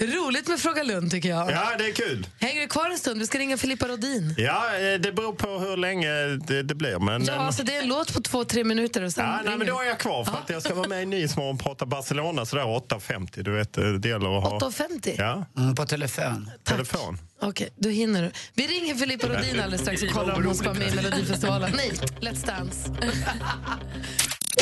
Speaker 3: Roligt med Fråga Lund tycker jag.
Speaker 25: Ja, det är kul.
Speaker 3: Hänger du kvar en stund? Vi ska ringa Filippa Rodin.
Speaker 25: Ja, eh, det beror på hur länge det, det blir. Men, eh,
Speaker 3: Ja, alltså det är en låt på två, tre minuter och sen
Speaker 25: Ja, nej, men då är jag kvar för att jag ska vara med i Nyhetsmorgon och prata Barcelona sådär 8.50. Du vet, eh, det gäller att ha...
Speaker 3: 8.50?
Speaker 25: Ja.
Speaker 4: Mm, på telefon.
Speaker 25: Telefon.
Speaker 3: Okej, då hinner du. Vi ringer Filippa Rodin alldeles strax och kollar om hon ska vara med i Melodifestivalen. Nej, Let's Dance.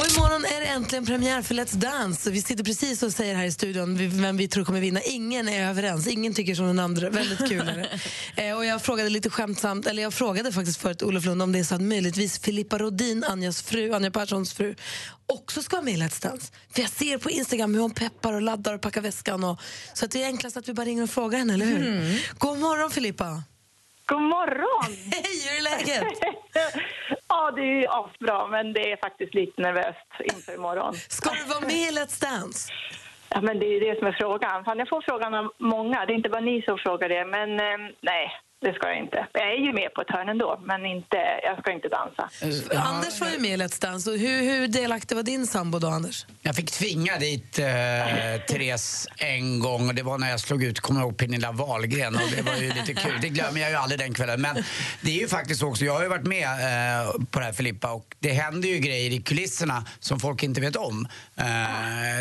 Speaker 3: Och imorgon är det äntligen premiär för Let's Dance. Vi sitter precis och säger här i studion vi- vem vi tror kommer vinna. Ingen är överens, ingen tycker som den andra. Väldigt kul är det. Eh, och jag frågade lite skämtsamt, eller jag frågade faktiskt förut Olof Lund om det är så att möjligtvis Filippa Rodin, Anjas fru, Anja Perssons fru, också ska vara med i Let's Dance. För jag ser på Instagram hur hon peppar och laddar och packar väskan. Och, så att det är enklast att vi bara ringer och frågar henne, eller hur? God morgon Filippa!
Speaker 10: God morgon!
Speaker 3: Hej, hur är läget?
Speaker 10: ja, det är asbra, men det är faktiskt lite nervöst inför imorgon.
Speaker 3: Ska du vara med i Let's Dance?
Speaker 10: Ja, men det är det som är frågan. Fan, jag får frågan av många, det är inte bara ni som frågar det. Men eh, nej, det ska jag inte. Jag är ju med på ett hörn ändå, men inte, jag ska inte dansa.
Speaker 3: Anders var ju med i Let's Dance. Och hur, hur delaktig var din sambo då, Anders?
Speaker 4: Jag fick tvinga dit eh, Therese en gång och det var när jag slog ut, kommer jag ihåg, Pernilla Wahlgren och det var ju lite kul. Det glömmer jag ju aldrig den kvällen. Men det är ju faktiskt också, jag har ju varit med eh, på det här Filippa och det händer ju grejer i kulisserna som folk inte vet om. Eh,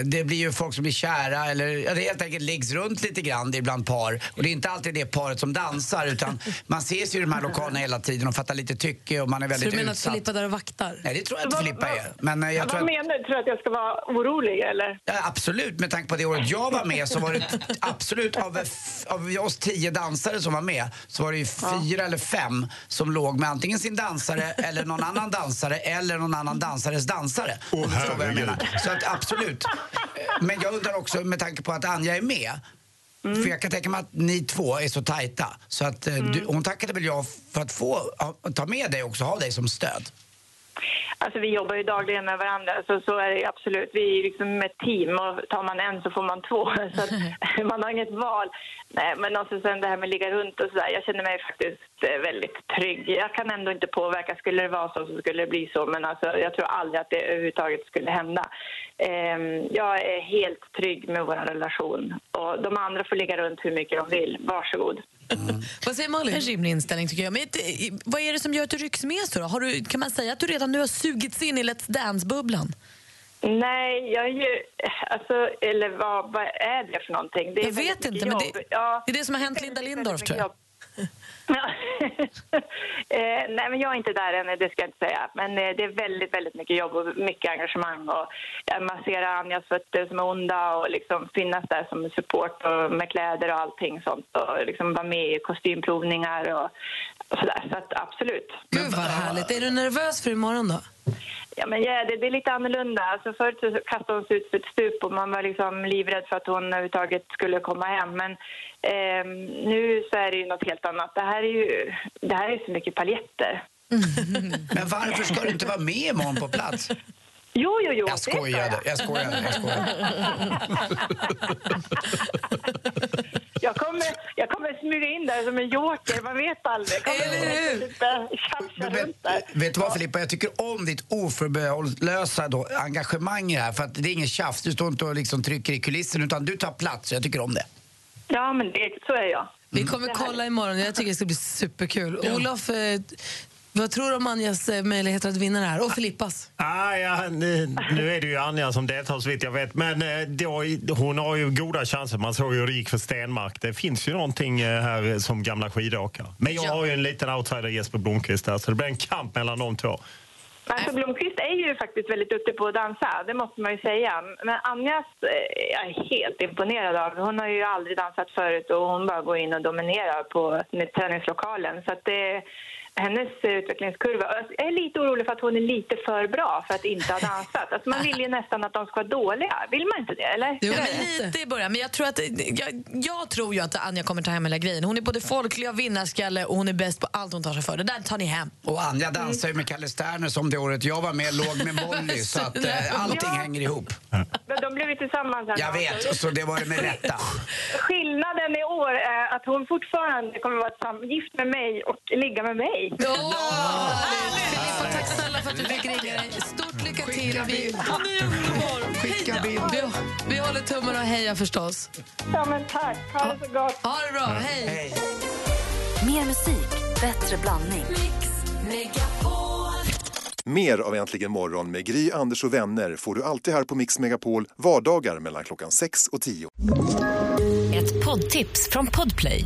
Speaker 4: det blir ju folk som blir kära eller ja, det helt enkelt liggs runt lite grann ibland par. Och det är inte alltid det paret som dansar utan utan man ses ju i de här lokalerna hela tiden och fattar lite tycke och man är
Speaker 3: Så
Speaker 4: väldigt
Speaker 3: du menar att
Speaker 4: utsatt.
Speaker 3: Filippa där och vaktar?
Speaker 4: Nej, det tror jag inte Filippa är. Men eh, jag tror
Speaker 10: Vad
Speaker 4: att...
Speaker 10: menar du? Tror du att jag ska vara orolig eller?
Speaker 4: Ja, absolut, med tanke på det året jag var med så var det absolut av, f- av oss tio dansare som var med så var det ju fyra eller fem som låg med antingen sin dansare eller någon annan dansare eller någon annan dansares dansare. Om du förstår vad jag menar. Så att absolut. Men jag undrar också med tanke på att Anja är med För jag kan tänka mig att ni två är så tajta. Så att eh, du, hon tackade väl jag för att få ha- ta med dig också, ha dig som stöd.
Speaker 10: Alltså vi jobbar ju dagligen med varandra, så, så är det ju absolut. Vi är ju liksom ett team och tar man en så får man två. Så att, man har inget val. Nej, men alltså sen det här med att ligga runt och sådär. Jag känner mig faktiskt eh, väldigt trygg. Jag kan ändå inte påverka. Skulle det vara så så skulle det bli så. Men alltså, jag tror aldrig att det överhuvudtaget skulle hända. Ehm, jag är helt trygg med vår relation. Och de andra får ligga runt hur mycket de vill. Varsågod.
Speaker 5: Vad säger Malin? En rimlig inställning tycker jag. Men eh, vad är det som gör att du rycks med så då? Har du, kan man säga att du redan nu har sugits in i Let's Dance-bubblan?
Speaker 10: Nej, jag är ju... Alltså, eller vad, vad är det för någonting? Det är
Speaker 5: Jag vet
Speaker 10: väldigt mycket
Speaker 5: inte, men det-
Speaker 10: jobb. ja,
Speaker 5: Det är det som har hänt Linda Lindorff tror jag.
Speaker 10: eh, nej, men jag är inte där än, det ska jag inte säga. Men eh, det är väldigt, väldigt mycket jobb och mycket engagemang. Och jag masserar Anjas fötter som är onda och liksom finnas där som support och med kläder och allting sånt. Och liksom vara med i kostymprovningar och, och sådär. Så att absolut.
Speaker 3: Gud vad härligt. Är du nervös för imorgon då?
Speaker 10: Ja, men ja, det, det är lite annorlunda. Alltså förut så kastade hon sig ut för ett stup och man var liksom livrädd för att hon överhuvudtaget skulle komma hem. Men ehm, nu så är det ju något helt annat. Det här är ju det här är så mycket paljetter.
Speaker 4: Mm. Men varför ska du inte vara med imorgon på plats?
Speaker 10: Jo, jo, jo.
Speaker 4: Jag skojade, jag skojade, jag skojade.
Speaker 10: Jag kommer, jag kommer smyga in där som en joker, man vet aldrig. Kommer lite tjafsa runt där.
Speaker 4: Vet du vad Filippa, jag tycker om ditt oförbehållslösa då, engagemang i det här. För att det är ingen tjafs, du står inte och liksom trycker i kulissen utan du tar plats. Jag tycker om det.
Speaker 10: Ja, men det, så är jag.
Speaker 3: Vi kommer kolla imorgon. Jag tycker det ska bli superkul. Olof, eh, vad tror du om Anjas eh, möjligheter att vinna det här? Och Filippas.
Speaker 25: Ah, ja, nu, nu är det ju Anja som deltar så vitt jag vet. Men eh, då, hon har ju goda chanser. Man såg ju hur det gick för Stenmark. Det finns ju någonting eh, här som gamla skidåkare. Men jag har ju en liten outsider Jesper Blomqvist där så det blir en kamp mellan de två.
Speaker 10: Alltså Blomqvist är ju faktiskt väldigt duktig på att dansa, det måste man ju säga. Men Anjas eh, jag är helt imponerad av. Hon har ju aldrig dansat förut och hon bara går in och dominerar på med träningslokalen. Så att det, hennes eh, utvecklingskurva... Jag är lite orolig för att hon är lite för bra för att inte ha dansat. Alltså man vill ju nästan att de ska vara dåliga. Vill man inte det? Eller?
Speaker 5: Ja, men lite i början. Men jag tror, att, jag, jag tror ju att Anja kommer ta hem hela grejen. Hon är både folklig och vinnarskalle och hon är bäst på allt hon tar sig för. Det där tar ni hem.
Speaker 4: Och Anja
Speaker 10: Mm.
Speaker 4: dansar ju med Kalle Sterner som det året jag var med låg med Molly. Så att eh, allting hänger ihop.
Speaker 10: Men De blev ju tillsammans. här.
Speaker 4: Jag vet, så det var det med rätta.
Speaker 10: Skillnaden i år är att hon fortfarande kommer vara tillsammans- gift med mig och ligga med mig.
Speaker 3: Tack snälla för att du fick ringa dig. Stort lycka till. Vi, Hon är underbar. Hej då. vi, vi håller tummen och hejar förstås.
Speaker 10: Ja, men tack. Ha det så gott.
Speaker 3: Ha det bra. Hej.
Speaker 1: Mer musik, bättre blandning.
Speaker 12: Mer av Äntligen morgon med Gry, Anders och vänner får du alltid här på Mix Megapol vardagar mellan klockan 6 och 10.
Speaker 6: Ett poddtips från Podplay.